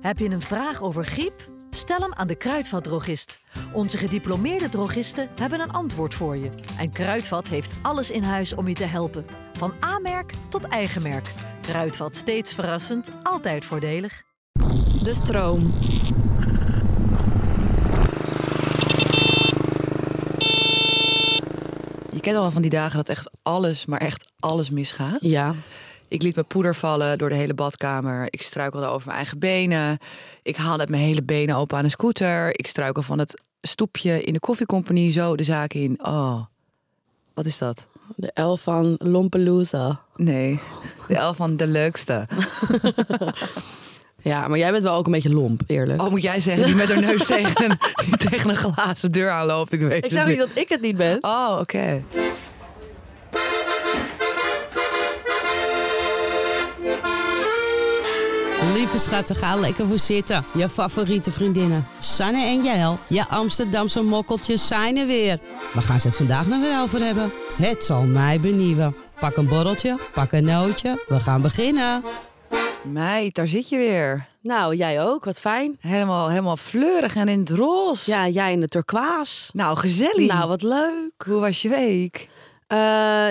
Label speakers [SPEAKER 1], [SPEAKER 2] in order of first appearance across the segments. [SPEAKER 1] Heb je een vraag over griep? Stel hem aan de Kruidvatdrogist. Onze gediplomeerde drogisten hebben een antwoord voor je. En Kruidvat heeft alles in huis om je te helpen. Van A-merk tot eigen merk. Kruidvat steeds verrassend, altijd voordelig.
[SPEAKER 2] De stroom.
[SPEAKER 3] Je kent al wel van die dagen dat echt alles, maar echt alles misgaat.
[SPEAKER 2] Ja.
[SPEAKER 3] Ik liet mijn poeder vallen door de hele badkamer. Ik struikelde over mijn eigen benen. Ik haalde uit mijn hele benen open aan een scooter. Ik struikel van het stoepje in de koffiecompagnie zo de zaak in. Oh, wat is dat?
[SPEAKER 2] De elf van Lompalooza.
[SPEAKER 3] Nee, de elf van de leukste.
[SPEAKER 2] Ja, maar jij bent wel ook een beetje lomp, eerlijk.
[SPEAKER 3] Oh, moet jij zeggen, die met haar neus tegen een, die tegen een glazen deur aanloopt. Ik weet
[SPEAKER 2] ik
[SPEAKER 3] het
[SPEAKER 2] zeg niet dat ik het niet ben.
[SPEAKER 3] Oh, oké.
[SPEAKER 4] Lieve schatten, ga lekker voor zitten. Je favoriete vriendinnen, Sanne en Jael, je Amsterdamse mokkeltjes zijn er weer. Waar gaan ze het vandaag nou weer over hebben? Het zal mij benieuwen. Pak een borreltje, pak een nootje, we gaan beginnen.
[SPEAKER 3] Meid, daar zit je weer.
[SPEAKER 2] Nou, jij ook, wat fijn.
[SPEAKER 3] Helemaal, helemaal fleurig en in het roze.
[SPEAKER 2] Ja, jij in de turquoise.
[SPEAKER 3] Nou, gezellig.
[SPEAKER 2] Nou, wat leuk.
[SPEAKER 3] Hoe was je week?
[SPEAKER 2] Eh,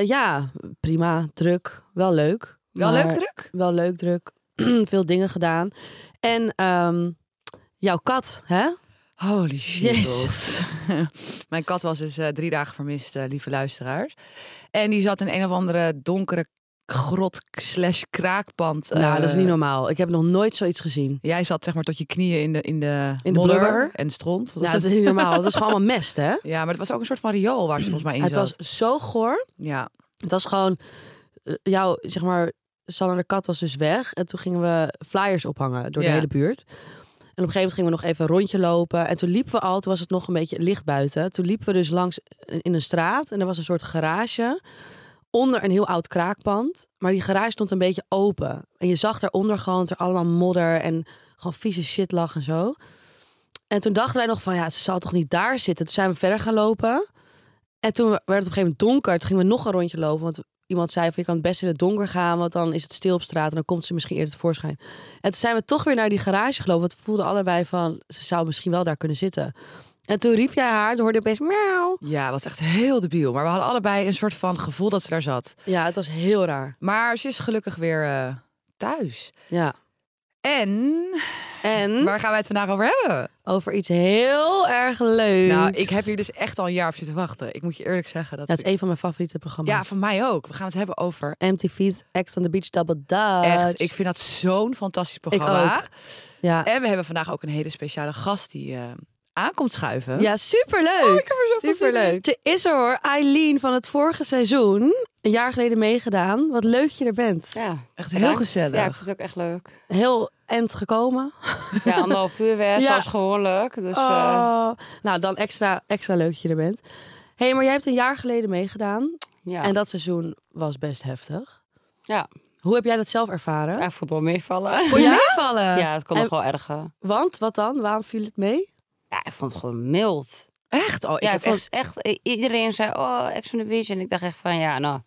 [SPEAKER 2] ja, prima, druk. Wel leuk.
[SPEAKER 3] Wel
[SPEAKER 2] Maar-
[SPEAKER 3] leuk druk?
[SPEAKER 2] Wel leuk, druk. Veel dingen gedaan. En ehm, jouw kat, hè?
[SPEAKER 3] Holy shit.
[SPEAKER 2] Jezus.
[SPEAKER 3] Mijn kat was dus eh, drie dagen vermist, eh, lieve luisteraars. En die zat in een of andere donkere grot slash kraakpand. eh,
[SPEAKER 2] nou, dat is niet normaal. Ik heb nog nooit zoiets gezien.
[SPEAKER 3] Jij zat zeg maar tot je knieën in de, in de,
[SPEAKER 2] In de
[SPEAKER 3] modder
[SPEAKER 2] blubber.
[SPEAKER 3] en stront. Wat
[SPEAKER 2] Nou,
[SPEAKER 3] is
[SPEAKER 2] dat
[SPEAKER 3] dat?
[SPEAKER 2] is niet normaal. Dat is gewoon allemaal mest, hè?
[SPEAKER 3] Ja, maar het was ook een soort van riool waar ze volgens mij in
[SPEAKER 2] Het
[SPEAKER 3] zat.
[SPEAKER 2] was zo goor.
[SPEAKER 3] Ja,
[SPEAKER 2] Het was gewoon, eh, jouw, zeg maar, Sanne de Kat was dus weg. En toen gingen we flyers ophangen door
[SPEAKER 3] Ja.
[SPEAKER 2] de hele buurt. En op een gegeven moment gingen we nog even een rondje lopen. En toen liepen we al, toen was het nog een beetje licht buiten. Toen liepen we dus langs in in een straat. En er was een soort garage onder een heel oud kraakpand. Maar die garage stond een beetje open. En je zag daaronder gewoon dat er allemaal modder en gewoon vieze shit lag en zo. En toen dachten wij nog van, ja, ze zal toch niet daar zitten? Toen zijn we verder gaan lopen. En toen werd het op een gegeven moment donker. Toen gingen we nog een rondje lopen. Want iemand zei van, je kan het best in het donker gaan. Want dan is het stil op straat en dan komt ze misschien eerder tevoorschijn. En toen zijn we toch weer naar die garage gelopen. Want we voelden allebei van, ze zou misschien wel daar kunnen zitten. En toen riep jij haar, toen hoorde je opeens miauw.
[SPEAKER 3] ja, het was echt heel debiel. Maar we hadden allebei een soort van gevoel dat ze daar zat.
[SPEAKER 2] Ja, het was heel raar.
[SPEAKER 3] Maar ze is gelukkig weer eh, thuis.
[SPEAKER 2] Ja.
[SPEAKER 3] En
[SPEAKER 2] En
[SPEAKER 3] waar gaan wij het vandaag over hebben?
[SPEAKER 2] over iets heel erg leuks.
[SPEAKER 3] Nou, ik heb hier dus echt al een jaar op zitten wachten. Ik moet je eerlijk zeggen. Dat
[SPEAKER 2] Dat is
[SPEAKER 3] ik-
[SPEAKER 2] een van mijn favoriete programma's.
[SPEAKER 3] ja, van mij ook. We gaan het hebben over.
[SPEAKER 2] MTV's Ex on the Beach Double Dutch.
[SPEAKER 3] Echt, ik vind dat zo'n fantastisch programma.
[SPEAKER 2] ook. Ja,
[SPEAKER 3] En we hebben vandaag ook een hele speciale gast die eh, aankomt schuiven.
[SPEAKER 2] ja superleuk. Superleuk. Ze is er hoor, Eileen van het vorige seizoen. Een jaar geleden meegedaan. Wat leuk je er bent.
[SPEAKER 5] Ja,
[SPEAKER 3] Echt heel
[SPEAKER 5] bedankt.
[SPEAKER 3] gezellig.
[SPEAKER 5] Ja, ik vind het ook echt leuk.
[SPEAKER 2] Heel end gekomen.
[SPEAKER 5] Ja, anderhalf uur weer,
[SPEAKER 2] Ja.
[SPEAKER 5] zoals gewoonlijk. Dus eh,
[SPEAKER 2] Oh. Nou, dan extra, extra leuk dat je er bent. Hé, hey, maar jij hebt een jaar geleden meegedaan.
[SPEAKER 5] ja,
[SPEAKER 2] En dat seizoen was best heftig.
[SPEAKER 5] Ja.
[SPEAKER 2] Hoe heb jij dat zelf ervaren?
[SPEAKER 5] eigenlijk voelt wel meevallen.
[SPEAKER 3] Voor je meevallen?
[SPEAKER 5] Ja, het kon
[SPEAKER 2] En-
[SPEAKER 5] nog wel erger.
[SPEAKER 2] Want, wat dan? Waarom viel het mee?
[SPEAKER 5] Ja, ik vond het gewoon mild.
[SPEAKER 3] Echt? Oh, ik
[SPEAKER 5] ja,
[SPEAKER 3] heb
[SPEAKER 5] ik vond
[SPEAKER 3] echt...
[SPEAKER 5] het echt... i- Iedereen zei, oh, Ex on the Beach. En ik dacht echt van, ja, nou...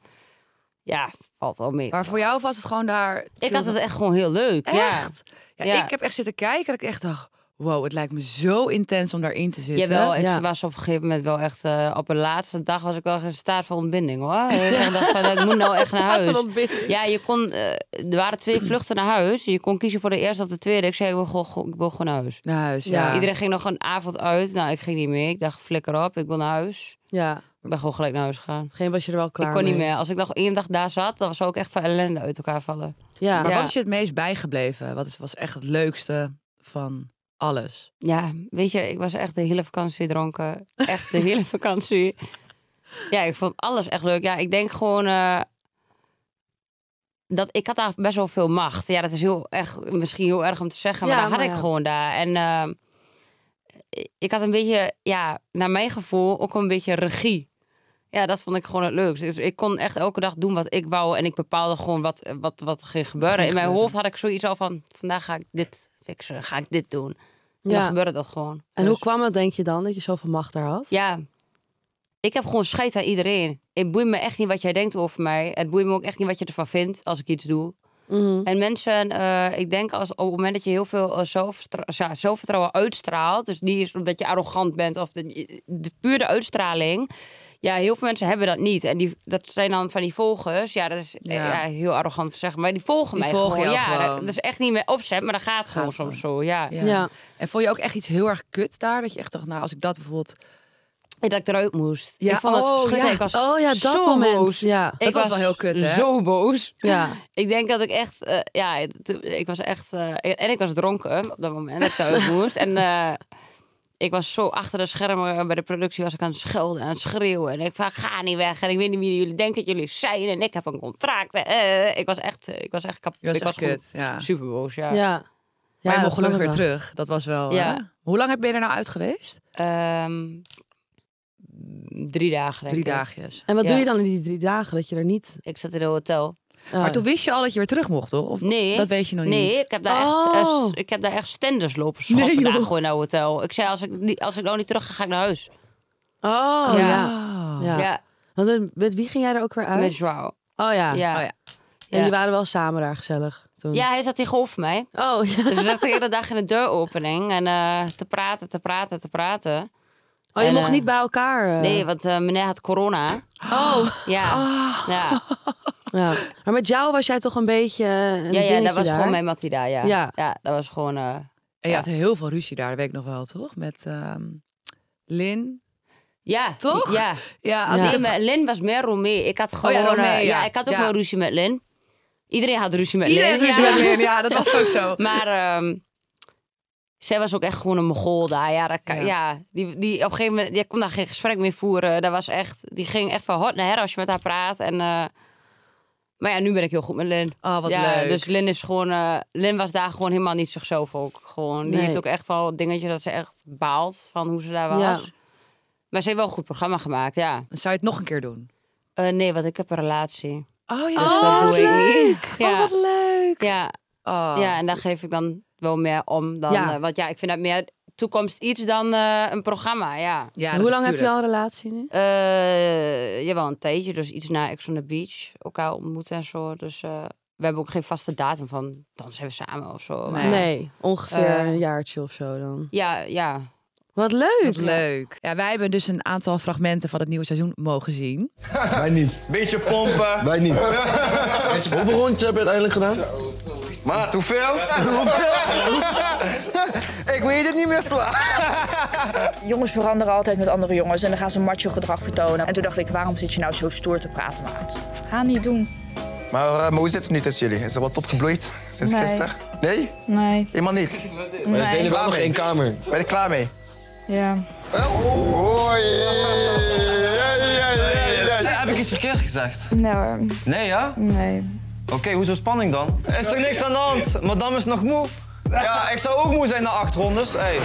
[SPEAKER 5] Ja, valt wel mee.
[SPEAKER 3] Maar voor jou was het gewoon daar...
[SPEAKER 5] Ik had het echt gewoon heel leuk. Ja.
[SPEAKER 3] Echt? Ja.
[SPEAKER 5] Ja.
[SPEAKER 3] ik heb echt zitten kijken dat ik echt dacht... Wow, het lijkt me zo intens om daarin te zitten.
[SPEAKER 5] Jawel, ik
[SPEAKER 2] Ja.
[SPEAKER 5] was op een gegeven moment wel echt... eh, op de laatste dag was ik wel echt in staat van ontbinding, hoor. Ik dacht van, ik moet nou echt naar huis. Ja, je kon, eh, er waren twee vluchten naar huis. Je kon kiezen voor de eerste of de tweede. Ik zei, ik wil gewoon, gewoon- ik wil gewoon naar huis.
[SPEAKER 3] Naar huis, ja.
[SPEAKER 2] Ja.
[SPEAKER 5] Iedereen ging nog een avond uit. Nou, ik ging niet meer. Ik dacht, flikker op, ik wil naar huis.
[SPEAKER 2] Ja, op
[SPEAKER 5] Ik ben gewoon gelijk naar huis gegaan.
[SPEAKER 2] een gegeven moment was je er wel klaar
[SPEAKER 5] ik kon niet
[SPEAKER 2] mee.
[SPEAKER 5] meer. Als ik nog één dag daar zat, dan was ook echt van ellende uit elkaar vallen.
[SPEAKER 2] Ja.
[SPEAKER 3] Maar
[SPEAKER 5] Ja.
[SPEAKER 3] wat is je het meest bijgebleven? Wat is, was echt het leukste van alles?
[SPEAKER 5] Ja, weet je, ik was echt de hele vakantie dronken. Echt de hele vakantie. Ja, ik vond alles echt leuk. Ja, ik denk gewoon... eh, dat, ik had daar best wel veel macht. Ja, dat is heel, echt, misschien heel erg om te zeggen, maar
[SPEAKER 2] Ja,
[SPEAKER 5] dat had
[SPEAKER 2] maar
[SPEAKER 5] ik
[SPEAKER 2] ja.
[SPEAKER 5] gewoon daar. En ehm, ik had een beetje, ja, naar mijn gevoel ook een beetje regie. Ja, dat vond ik gewoon het leukste. Dus ik kon echt elke dag doen wat ik wou en ik bepaalde gewoon wat, wat, wat er ging gebeuren. In mijn hoofd had ik zoiets al van, vandaag ga ik dit fixen, ga ik dit doen. En
[SPEAKER 2] Ja.
[SPEAKER 5] dan gebeurde dat gewoon.
[SPEAKER 2] En
[SPEAKER 5] Dus-
[SPEAKER 2] hoe kwam het, denk je dan, dat je zoveel macht daar had?
[SPEAKER 5] ja, ik heb gewoon scheid aan iedereen. Het boeit me echt niet wat jij denkt over mij. Het boeit me ook echt niet wat je ervan vindt als ik iets doe.
[SPEAKER 2] Mhm.
[SPEAKER 5] En mensen, eh, ik denk als op het moment dat je heel veel eh, zelfvertra- ja, zelfvertrouwen uitstraalt, dus niet eens omdat je arrogant bent of de, de pure uitstraling, ja, heel veel mensen hebben dat niet. En die, dat zijn dan van die volgers, ja, dat is eh,
[SPEAKER 3] Ja.
[SPEAKER 5] ja. heel arrogant te zeggen, maar die volgen
[SPEAKER 3] Die
[SPEAKER 5] mij
[SPEAKER 3] volgen
[SPEAKER 5] gewoon.
[SPEAKER 3] jou
[SPEAKER 5] ja,
[SPEAKER 3] gewoon.
[SPEAKER 5] Dat, dat is echt niet meer opzet, maar dat gaat gewoon
[SPEAKER 3] Gaat
[SPEAKER 5] soms zo, ja.
[SPEAKER 3] Ja.
[SPEAKER 2] Ja.
[SPEAKER 3] En vond je ook echt iets heel erg kut daar? Dat je echt dacht, nou, als ik dat bijvoorbeeld...
[SPEAKER 5] En Dat ik eruit moest.
[SPEAKER 3] Ja,
[SPEAKER 5] ik vond het
[SPEAKER 3] oh,
[SPEAKER 5] verschrikkelijk.
[SPEAKER 3] ja.
[SPEAKER 5] Ik was
[SPEAKER 2] Oh ja, dat
[SPEAKER 5] zo
[SPEAKER 2] moment.
[SPEAKER 5] boos.
[SPEAKER 2] Ja.
[SPEAKER 5] Ik
[SPEAKER 3] was wel heel kut, hè?
[SPEAKER 5] Zo boos.
[SPEAKER 2] Ja.
[SPEAKER 5] Ik denk dat ik echt, eh, ja, het- ik was echt, eh, en ik was dronken op dat moment dat ik thuis moest. En eh, ik was zo achter de schermen eh, bij de productie was ik aan het schelden, aan het schreeuwen. En ik van, ga niet weg. En ik weet niet wie jullie denken dat jullie zijn. En ik heb een contract. Eh, ik was echt, eh, ik was echt kapot.
[SPEAKER 3] Je was
[SPEAKER 5] ik
[SPEAKER 3] echt
[SPEAKER 5] was
[SPEAKER 3] kut, ja.
[SPEAKER 5] super boos, ja.
[SPEAKER 2] Ja. ja.
[SPEAKER 3] maar
[SPEAKER 2] dat
[SPEAKER 3] je mocht gelukkig weer
[SPEAKER 2] snap ik
[SPEAKER 3] terug. Dat was wel...
[SPEAKER 5] Ja.
[SPEAKER 3] hè? Hoe lang ben je er nou uit geweest?
[SPEAKER 5] Ehm, drie dagen, denk
[SPEAKER 3] Drie
[SPEAKER 5] ik.
[SPEAKER 3] dagjes.
[SPEAKER 2] wel. En wat
[SPEAKER 5] Ja.
[SPEAKER 2] doe je dan in die drie dagen dat je er niet...
[SPEAKER 5] Ik zat in een hotel.
[SPEAKER 2] Oh.
[SPEAKER 3] Maar toen wist je al dat je weer terug mocht, toch? Of
[SPEAKER 5] Nee.
[SPEAKER 3] Dat weet je nog
[SPEAKER 5] Nee,
[SPEAKER 3] niet.
[SPEAKER 5] ik heb daar,
[SPEAKER 2] Oh.
[SPEAKER 5] echt, eh, s- ik heb daar echt stenders lopen schoppen
[SPEAKER 3] Nee, joh.
[SPEAKER 5] daar gewoon in een hotel. Ik zei, als ik, niet- als ik nou niet terug ga, ga ik naar huis.
[SPEAKER 2] Oh, ja.
[SPEAKER 5] Ja.
[SPEAKER 2] ja.
[SPEAKER 3] Ah.
[SPEAKER 5] Ja,
[SPEAKER 2] Want met, met wie ging jij er ook weer uit?
[SPEAKER 5] met Joao.
[SPEAKER 2] Oh ja.
[SPEAKER 5] Ja.
[SPEAKER 3] Oh,
[SPEAKER 5] Ja.
[SPEAKER 3] ja.
[SPEAKER 2] En die waren wel samen daar gezellig toen.
[SPEAKER 5] Ja, hij zat tegenover mij.
[SPEAKER 2] Oh ja.
[SPEAKER 5] Dus we zaten de hele dag in de deuropening en eh, te praten, te praten, te praten.
[SPEAKER 2] Oh, je
[SPEAKER 5] En,
[SPEAKER 2] mocht
[SPEAKER 5] eh,
[SPEAKER 2] niet bij elkaar. eh.
[SPEAKER 5] Nee, want eh, meneer had corona.
[SPEAKER 2] Oh.
[SPEAKER 5] Ja, ja.
[SPEAKER 2] Ja. Maar met jou was jij toch een beetje. eh, Een
[SPEAKER 5] ja, ja
[SPEAKER 2] dingetje
[SPEAKER 5] dat was
[SPEAKER 2] daar?
[SPEAKER 5] gewoon mijn Matilda, ja.
[SPEAKER 2] Ja.
[SPEAKER 5] dat was gewoon... eh,
[SPEAKER 3] En je had heel veel ruzie daar, dat weet ik nog wel, toch? Met ehm, Lin.
[SPEAKER 5] ja,
[SPEAKER 3] Toch?
[SPEAKER 5] Ja.
[SPEAKER 3] Ja,
[SPEAKER 2] Ja.
[SPEAKER 3] als
[SPEAKER 5] Nee,
[SPEAKER 3] ik-
[SPEAKER 5] maar Lin was meer Romee. Ik had gewoon...
[SPEAKER 3] Oh ja, Romee,
[SPEAKER 5] eh,
[SPEAKER 3] ja.
[SPEAKER 5] ik had ook
[SPEAKER 3] Ja.
[SPEAKER 5] wel ruzie met Lin. Iedereen had ruzie met
[SPEAKER 3] Iedereen
[SPEAKER 5] Lin.
[SPEAKER 3] heeft ruzie
[SPEAKER 5] ja.
[SPEAKER 3] met Lin. Ja, dat was ook zo.
[SPEAKER 5] Maar ehm, zij was ook echt gewoon een mogol daar. Ja, dat kan-
[SPEAKER 3] Ja.
[SPEAKER 5] ja. die, die op een gegeven moment die kon daar geen gesprek meer voeren. Dat was echt, die ging echt van hot naar her als je met haar praat. En, eh, maar ja, nu ben ik heel goed met Lin.
[SPEAKER 3] Oh, wat
[SPEAKER 5] ja,
[SPEAKER 3] leuk.
[SPEAKER 5] Dus Lin, is gewoon, eh, Lin was daar gewoon helemaal niet zichzelf ook. Gewoon, die
[SPEAKER 2] Nee.
[SPEAKER 5] heeft ook echt wel dingetjes dat ze echt baalt van hoe ze daar was.
[SPEAKER 2] Ja.
[SPEAKER 5] Maar ze heeft wel een goed programma gemaakt, ja.
[SPEAKER 3] Dan zou je het nog een keer doen.
[SPEAKER 5] Eh, nee, want ik heb een relatie.
[SPEAKER 3] Oh ja,
[SPEAKER 5] Dus
[SPEAKER 3] wat
[SPEAKER 5] dat doe
[SPEAKER 3] leuk.
[SPEAKER 5] ik niet. Ja.
[SPEAKER 3] Oh, wat leuk.
[SPEAKER 5] ja.
[SPEAKER 3] Oh.
[SPEAKER 5] Ja, en daar geef ik dan wel meer om. Dan,
[SPEAKER 2] Ja.
[SPEAKER 5] eh, want ja, ik vind dat meer toekomst iets dan eh, een programma, ja.
[SPEAKER 3] Ja,
[SPEAKER 2] En
[SPEAKER 3] dat
[SPEAKER 2] Hoe
[SPEAKER 3] is
[SPEAKER 2] lang heb je
[SPEAKER 3] natuurlijk-
[SPEAKER 2] al een relatie nu?
[SPEAKER 5] Eh jawel, een tijdje. Dus iets na Ex on the Beach. Elkaar ontmoeten en zo. Dus eh, we hebben ook geen vaste datum van... dan zijn we samen of zo. maar-
[SPEAKER 2] Nee, ongeveer
[SPEAKER 5] Eh.
[SPEAKER 2] een jaartje of zo dan.
[SPEAKER 5] Ja, ja.
[SPEAKER 2] Wat leuk.
[SPEAKER 3] Wat leuk. Ja, wij hebben dus een aantal fragmenten van het nieuwe seizoen mogen zien.
[SPEAKER 6] Wij niet.
[SPEAKER 7] Beetje pompen.
[SPEAKER 6] Wij niet. Hoeveel rondjes heb je uiteindelijk gedaan?
[SPEAKER 7] Maat, hoeveel? ik weet het niet meer slaan.
[SPEAKER 8] Jongens veranderen altijd met andere jongens en dan gaan ze macho gedrag vertonen. En toen dacht ik, waarom zit je nou zo stoer te praten, maat?
[SPEAKER 9] Ga niet doen.
[SPEAKER 7] Maar, eh, maar hoe zit het nu tussen jullie? Is er wat opgebloeid sinds
[SPEAKER 9] Nee.
[SPEAKER 7] gisteren? Nee?
[SPEAKER 9] Nee.
[SPEAKER 7] Helemaal niet?
[SPEAKER 9] Nee.
[SPEAKER 7] Klaar mee?
[SPEAKER 6] kamer.
[SPEAKER 7] Ben je er klaar mee?
[SPEAKER 9] Ja.
[SPEAKER 7] Hoi. Heb ik iets verkeerd gezegd?
[SPEAKER 9] Nee hoor.
[SPEAKER 7] Nee, ja?
[SPEAKER 9] Nou, eh, Nee.
[SPEAKER 7] Oké, hoezo spanning dan? Is er niks aan de hand? Madame is nog moe. Ja, ik zou ook moe zijn na acht rondes. Hey.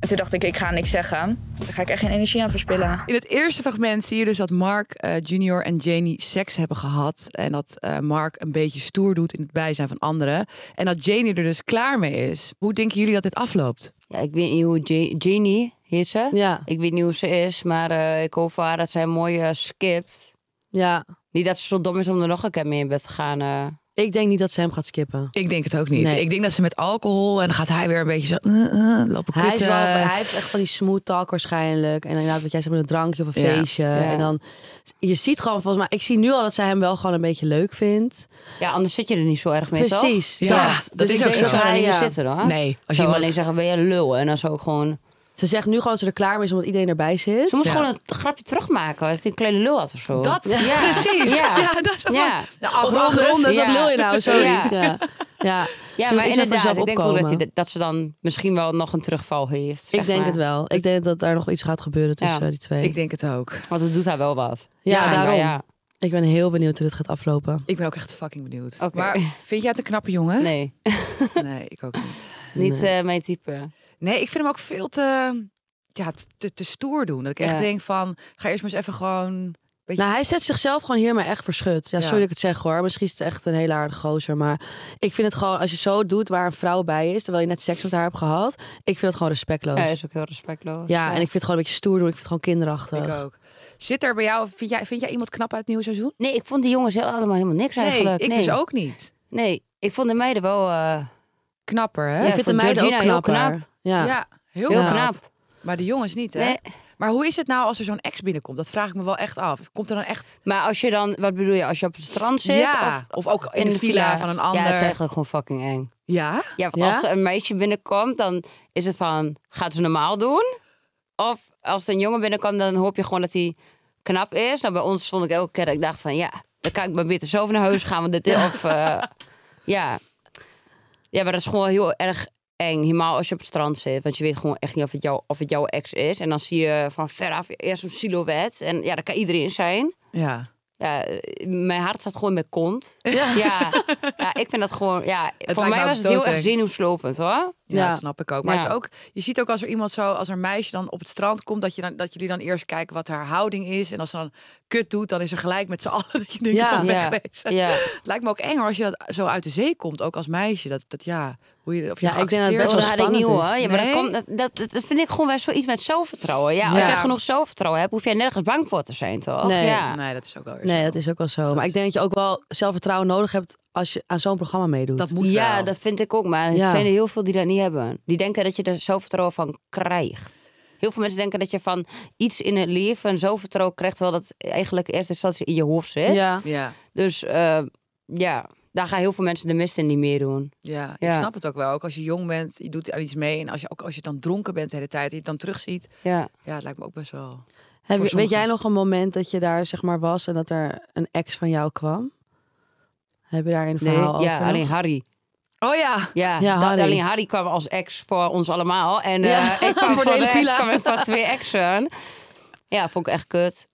[SPEAKER 8] En toen dacht ik, ik ga niks zeggen. Daar ga ik echt geen energie aan verspillen.
[SPEAKER 3] In het eerste fragment zie je dus dat Mark eh, Junior en Janie seks hebben gehad. En dat eh, Mark een beetje stoer doet in het bijzijn van anderen. En dat Janie er dus klaar mee is. Hoe denken jullie dat dit afloopt?
[SPEAKER 5] ja ik weet niet hoe Ja- Janie heet ze.
[SPEAKER 2] Ja.
[SPEAKER 5] Ik weet niet hoe ze is, maar eh, ik hoop voor haar dat zij mooi eh, skipt.
[SPEAKER 2] Ja.
[SPEAKER 5] Niet dat ze zo dom is om er nog een keer mee in bed te gaan. eh.
[SPEAKER 2] Ik denk niet dat ze hem gaat skippen.
[SPEAKER 3] Ik denk het ook niet.
[SPEAKER 2] Nee.
[SPEAKER 3] Ik denk dat ze met alcohol en dan gaat hij weer een beetje zo eh, eh, lopen kutten.
[SPEAKER 2] Hij, is wel, hij heeft echt van die smooth talk waarschijnlijk. En inderdaad, wat jij zegt met een drankje of een
[SPEAKER 3] Ja.
[SPEAKER 2] feestje. En dan, je ziet gewoon volgens mij, ik zie nu al dat zij hem wel gewoon een beetje leuk vindt.
[SPEAKER 5] Ja, anders zit je er niet zo erg mee, toch?
[SPEAKER 2] Precies,
[SPEAKER 3] Ja,
[SPEAKER 2] dat.
[SPEAKER 3] dat
[SPEAKER 2] dus
[SPEAKER 3] is
[SPEAKER 2] ik
[SPEAKER 3] ook
[SPEAKER 2] denk
[SPEAKER 3] zo.
[SPEAKER 2] dat
[SPEAKER 5] Ik zou daar
[SPEAKER 2] hij,
[SPEAKER 5] niet
[SPEAKER 2] ja.
[SPEAKER 5] meer zitten hoor.
[SPEAKER 3] Nee, als
[SPEAKER 5] Als
[SPEAKER 3] je
[SPEAKER 5] zou
[SPEAKER 3] iemand-
[SPEAKER 5] alleen zeggen, ben je lul? En dan zou ik gewoon...
[SPEAKER 2] Ze zegt nu gewoon dat ze er klaar mee is omdat iedereen erbij zit.
[SPEAKER 5] Ze moest
[SPEAKER 3] Ja.
[SPEAKER 5] gewoon een grapje terugmaken. Dat hij een kleine lul had of zo.
[SPEAKER 3] Dat,
[SPEAKER 5] Ja.
[SPEAKER 3] precies. Ja,
[SPEAKER 5] Ja.
[SPEAKER 3] dat is
[SPEAKER 5] Ja.
[SPEAKER 3] De
[SPEAKER 2] Of ronde rondes,
[SPEAKER 5] ja.
[SPEAKER 2] wat wil je nou? Zoiets, ja. Ja, ja.
[SPEAKER 5] Ja,
[SPEAKER 2] Ze
[SPEAKER 5] maar
[SPEAKER 2] is er vanzelf
[SPEAKER 5] inderdaad, ik denk ook dat,
[SPEAKER 2] opkomen.
[SPEAKER 5] hij, dat ze dan misschien wel nog een terugval heeft. zeg
[SPEAKER 2] Ik denk
[SPEAKER 5] maar.
[SPEAKER 2] het wel. Ik denk dat daar nog iets gaat gebeuren tussen
[SPEAKER 5] Ja.
[SPEAKER 2] die twee.
[SPEAKER 3] Ik denk het ook.
[SPEAKER 5] Want het doet haar wel wat.
[SPEAKER 2] Ja,
[SPEAKER 5] maar
[SPEAKER 2] daarom.
[SPEAKER 5] ja.
[SPEAKER 2] Ik ben heel benieuwd hoe dit gaat aflopen.
[SPEAKER 3] Ik ben ook echt fucking benieuwd.
[SPEAKER 5] Oké.
[SPEAKER 3] Maar vind jij het een knappe jongen?
[SPEAKER 5] Nee,
[SPEAKER 3] Nee, ik ook niet.
[SPEAKER 5] niet eh, mijn type.
[SPEAKER 3] Nee, ik vind hem ook veel te, ja, te, te stoer doen. Dat ik echt
[SPEAKER 5] Ja.
[SPEAKER 3] denk van, ga eerst maar eens even gewoon Weet je-
[SPEAKER 2] Nou, hij zet zichzelf gewoon hiermee echt verschut. Ja,
[SPEAKER 3] Ja.
[SPEAKER 2] sorry dat ik het zeg hoor. Misschien is het echt een hele aardige gozer. Maar ik vind het gewoon, als je zo doet waar een vrouw bij is, terwijl je net seks met haar hebt gehad, ik vind het gewoon respectloos.
[SPEAKER 5] Ja,
[SPEAKER 2] Ja,
[SPEAKER 5] is ook heel respectloos.
[SPEAKER 2] en ik vind het gewoon een beetje stoer doen. Ik vind het gewoon kinderachtig.
[SPEAKER 3] Ik ook. Zit er bij jou, vind jij, vind jij iemand knap uit het nieuwe seizoen?
[SPEAKER 5] Nee, ik vond die jongens heel, allemaal helemaal niks eigenlijk.
[SPEAKER 3] ik
[SPEAKER 5] nee.
[SPEAKER 3] dus ook niet.
[SPEAKER 5] Nee, ik vond de meiden wel eh,
[SPEAKER 3] Knapper, hè?
[SPEAKER 5] Ja,
[SPEAKER 2] ik vind de
[SPEAKER 5] vond
[SPEAKER 2] meiden ook
[SPEAKER 5] Georgina heel
[SPEAKER 2] knapper. Ja.
[SPEAKER 3] Ja, heel,
[SPEAKER 5] heel
[SPEAKER 3] knap.
[SPEAKER 5] knap.
[SPEAKER 3] Maar de jongens niet, hè?
[SPEAKER 5] Nee.
[SPEAKER 3] Maar hoe is het nou als er zo'n ex binnenkomt? Dat vraag ik me wel echt af. Komt er dan echt...
[SPEAKER 5] Maar als je dan, wat bedoel je, als je op het strand zit?
[SPEAKER 3] ja,
[SPEAKER 5] of
[SPEAKER 3] of, ook in, de, villa, van een ander.
[SPEAKER 5] Ja, het is eigenlijk gewoon fucking eng.
[SPEAKER 3] Ja?
[SPEAKER 5] Ja, want
[SPEAKER 2] Ja?
[SPEAKER 5] als er een meisje binnenkomt, dan is het van, gaat ze normaal doen? Of als er een jongen binnenkomt, dan hoop je gewoon dat hij knap is. Nou, bij ons vond ik elke keer dat ik dacht van, ja, dan kan ik maar beter zo naar huis gaan. Want dit is, of, eh, ja. Ja, maar dat is gewoon heel erg eng. Helemaal als je op het strand zit. Want je weet gewoon echt niet of het, jou, of het jouw ex is. En dan zie je van veraf eerst zo'n silhouet. En ja, dat kan iedereen zijn.
[SPEAKER 3] Ja.
[SPEAKER 5] Ja, eh, mijn hart zat gewoon in mijn kont. Ja. Ja, ik vind dat gewoon... Ja, voor
[SPEAKER 3] lijkt
[SPEAKER 5] mij
[SPEAKER 3] me
[SPEAKER 5] was het heel erg
[SPEAKER 3] doodeng.
[SPEAKER 5] zenuwslopend, hoor.
[SPEAKER 3] Ja,
[SPEAKER 2] Ja.
[SPEAKER 3] dat snap ik ook. Maar het
[SPEAKER 5] Ja.
[SPEAKER 3] is ook, je ziet ook als er iemand zo, als er een meisje dan op het strand komt, dat, je dan, dat jullie dan eerst kijken wat haar houding is. En als ze dan kut doet, dan is er gelijk met z'n allen dat je denkt
[SPEAKER 2] Ja,
[SPEAKER 3] van
[SPEAKER 5] ja,
[SPEAKER 3] wegwezen.
[SPEAKER 5] ja.
[SPEAKER 3] Het lijkt me ook enger als je dat zo uit de zee komt, ook als meisje. Dat, dat ja, hoe je, of je
[SPEAKER 2] Ja, ik denk dat het
[SPEAKER 3] geaccepteerd
[SPEAKER 2] best wel
[SPEAKER 5] dat had ik niet,
[SPEAKER 2] spannend
[SPEAKER 5] hoor.
[SPEAKER 2] is.
[SPEAKER 5] Ja, maar
[SPEAKER 3] Nee?
[SPEAKER 5] dat, komt, dat, dat, dat vind ik gewoon best wel iets met zelfvertrouwen. Ja, als
[SPEAKER 2] Ja.
[SPEAKER 5] jij genoeg zelfvertrouwen hebt, hoef jij nergens bang voor te zijn, toch?
[SPEAKER 2] Nee.
[SPEAKER 5] ja.
[SPEAKER 3] Nee, dat is ook wel weer
[SPEAKER 2] Nee,
[SPEAKER 3] zo.
[SPEAKER 2] dat is ook wel zo. Maar ik denk dat je ook wel zelfvertrouwen nodig hebt als je aan zo'n programma meedoet.
[SPEAKER 3] Dat moet
[SPEAKER 5] ja,
[SPEAKER 3] wel.
[SPEAKER 5] dat vind ik ook. Maar er
[SPEAKER 2] Ja.
[SPEAKER 5] zijn er heel veel die dat niet hebben. Die denken dat je er zelfvertrouwen van krijgt. Heel veel mensen denken dat je van iets in het leven zelfvertrouwen krijgt... terwijl dat eigenlijk in eerste instantie in je hoofd zit.
[SPEAKER 2] ja.
[SPEAKER 3] Ja,
[SPEAKER 5] Dus eh, ja, daar gaan heel veel mensen de mist in niet meer doen.
[SPEAKER 3] ja, ik
[SPEAKER 5] Ja.
[SPEAKER 3] snap het ook wel. Ook als je jong bent, je doet aan iets mee. En als je, ook als je dan dronken bent de hele tijd, en je het dan terugziet.
[SPEAKER 5] Ja.
[SPEAKER 3] Ja, het lijkt me ook best wel...
[SPEAKER 2] Heb, je-
[SPEAKER 3] Voor
[SPEAKER 2] weet jij
[SPEAKER 3] sommigen.
[SPEAKER 2] nog een moment dat je daar zeg maar was en dat er een ex van jou kwam? Heb je daar een
[SPEAKER 5] Nee,
[SPEAKER 2] verhaal over?
[SPEAKER 5] ja,
[SPEAKER 2] nog?
[SPEAKER 5] alleen Harry.
[SPEAKER 3] Oh ja,
[SPEAKER 5] Ja,
[SPEAKER 2] Ja,
[SPEAKER 5] dat,
[SPEAKER 2] Harry.
[SPEAKER 5] alleen Harry kwam als ex voor ons allemaal. En eh,
[SPEAKER 2] Ja,
[SPEAKER 5] ik kwam
[SPEAKER 2] voor
[SPEAKER 5] voor
[SPEAKER 2] de
[SPEAKER 5] de,
[SPEAKER 2] hele
[SPEAKER 5] rest
[SPEAKER 2] villa.
[SPEAKER 5] kwam ik van twee exen. Ja, vond ik echt kut.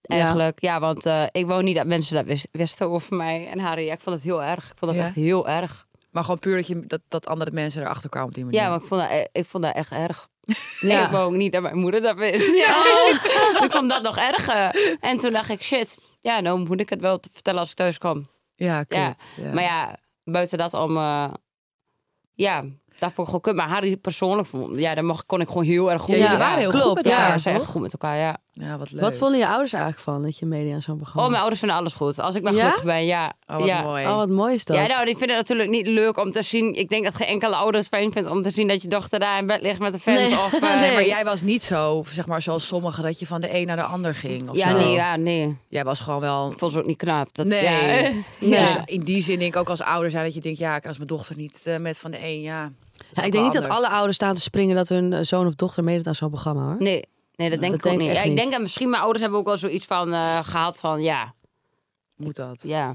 [SPEAKER 2] Ja.
[SPEAKER 5] Eigenlijk, ja, want eh, ik wou niet dat mensen dat wist- wisten over mij en Harry. Ja, ik vond het heel erg. Ik vond dat
[SPEAKER 3] Ja?
[SPEAKER 5] echt heel erg.
[SPEAKER 3] maar gewoon puur dat, je, dat, dat andere mensen erachter kwamen op die manier.
[SPEAKER 5] Ja, maar ik vond dat, e- ik vond dat echt erg.
[SPEAKER 2] Ja.
[SPEAKER 5] Ik wou ook niet dat mijn moeder dat wist. ik vond dat nog erger. En toen dacht ik, shit, ja, nou moet ik het wel te vertellen als ik thuis kom.
[SPEAKER 3] ja,
[SPEAKER 5] Ja,
[SPEAKER 3] klopt. Ja.
[SPEAKER 5] Maar ja, buiten dat om... eh, ja, dat vond ik gewoon kut. Maar Harry persoonlijk, vond, ja, daar mocht, kon ik gewoon heel erg goed
[SPEAKER 3] Ja,
[SPEAKER 5] mee
[SPEAKER 3] jullie
[SPEAKER 5] praten.
[SPEAKER 3] waren heel
[SPEAKER 2] klopt,
[SPEAKER 3] goed met
[SPEAKER 5] Ja,
[SPEAKER 3] elkaar,
[SPEAKER 5] we zijn echt
[SPEAKER 3] toch?
[SPEAKER 5] goed met elkaar, ja.
[SPEAKER 3] Ja, wat leuk.
[SPEAKER 2] Wat vonden je ouders eigenlijk van dat je meedeed aan zo'n programma?
[SPEAKER 5] Oh, mijn ouders vinden alles goed. Als ik maar
[SPEAKER 2] Ja?
[SPEAKER 5] gelukkig ben, ja.
[SPEAKER 3] Oh, wat
[SPEAKER 5] ja.
[SPEAKER 3] mooi.
[SPEAKER 2] Oh, wat mooi is dat.
[SPEAKER 5] Ja, nou, die vinden het natuurlijk niet leuk om te zien. Ik denk dat geen enkele ouder het fijn vindt om te zien dat je dochter daar in bed ligt met een vent.
[SPEAKER 2] Nee.
[SPEAKER 5] Of, eh,
[SPEAKER 3] Nee, maar jij was niet zo, zeg maar, zoals sommigen, dat je van de een naar de ander ging. Of
[SPEAKER 5] Ja,
[SPEAKER 3] zo.
[SPEAKER 5] nee, ja, nee.
[SPEAKER 3] Jij was gewoon wel.
[SPEAKER 5] Ik vond ze ook niet knap. Dat,
[SPEAKER 3] Nee.
[SPEAKER 5] Ja.
[SPEAKER 2] Ja.
[SPEAKER 3] Dus in die zin denk ik ook als ouder zijn dat je denkt, ja, als mijn dochter niet eh, met van de een, ja. dat is
[SPEAKER 2] Ja,
[SPEAKER 3] ook
[SPEAKER 2] ik denk niet
[SPEAKER 3] wel
[SPEAKER 2] dat
[SPEAKER 3] anders.
[SPEAKER 2] alle ouders staan te springen dat hun eh, zoon of dochter meedoet aan zo'n programma hoor.
[SPEAKER 5] Nee, nee, dat
[SPEAKER 2] dat
[SPEAKER 5] denk ik ook
[SPEAKER 2] denk ik
[SPEAKER 5] niet.
[SPEAKER 2] echt
[SPEAKER 5] Ja, ik
[SPEAKER 2] niet.
[SPEAKER 5] denk dat misschien mijn ouders hebben ook wel zoiets van eh, gehad van ja,
[SPEAKER 3] Moet dat?
[SPEAKER 5] ja.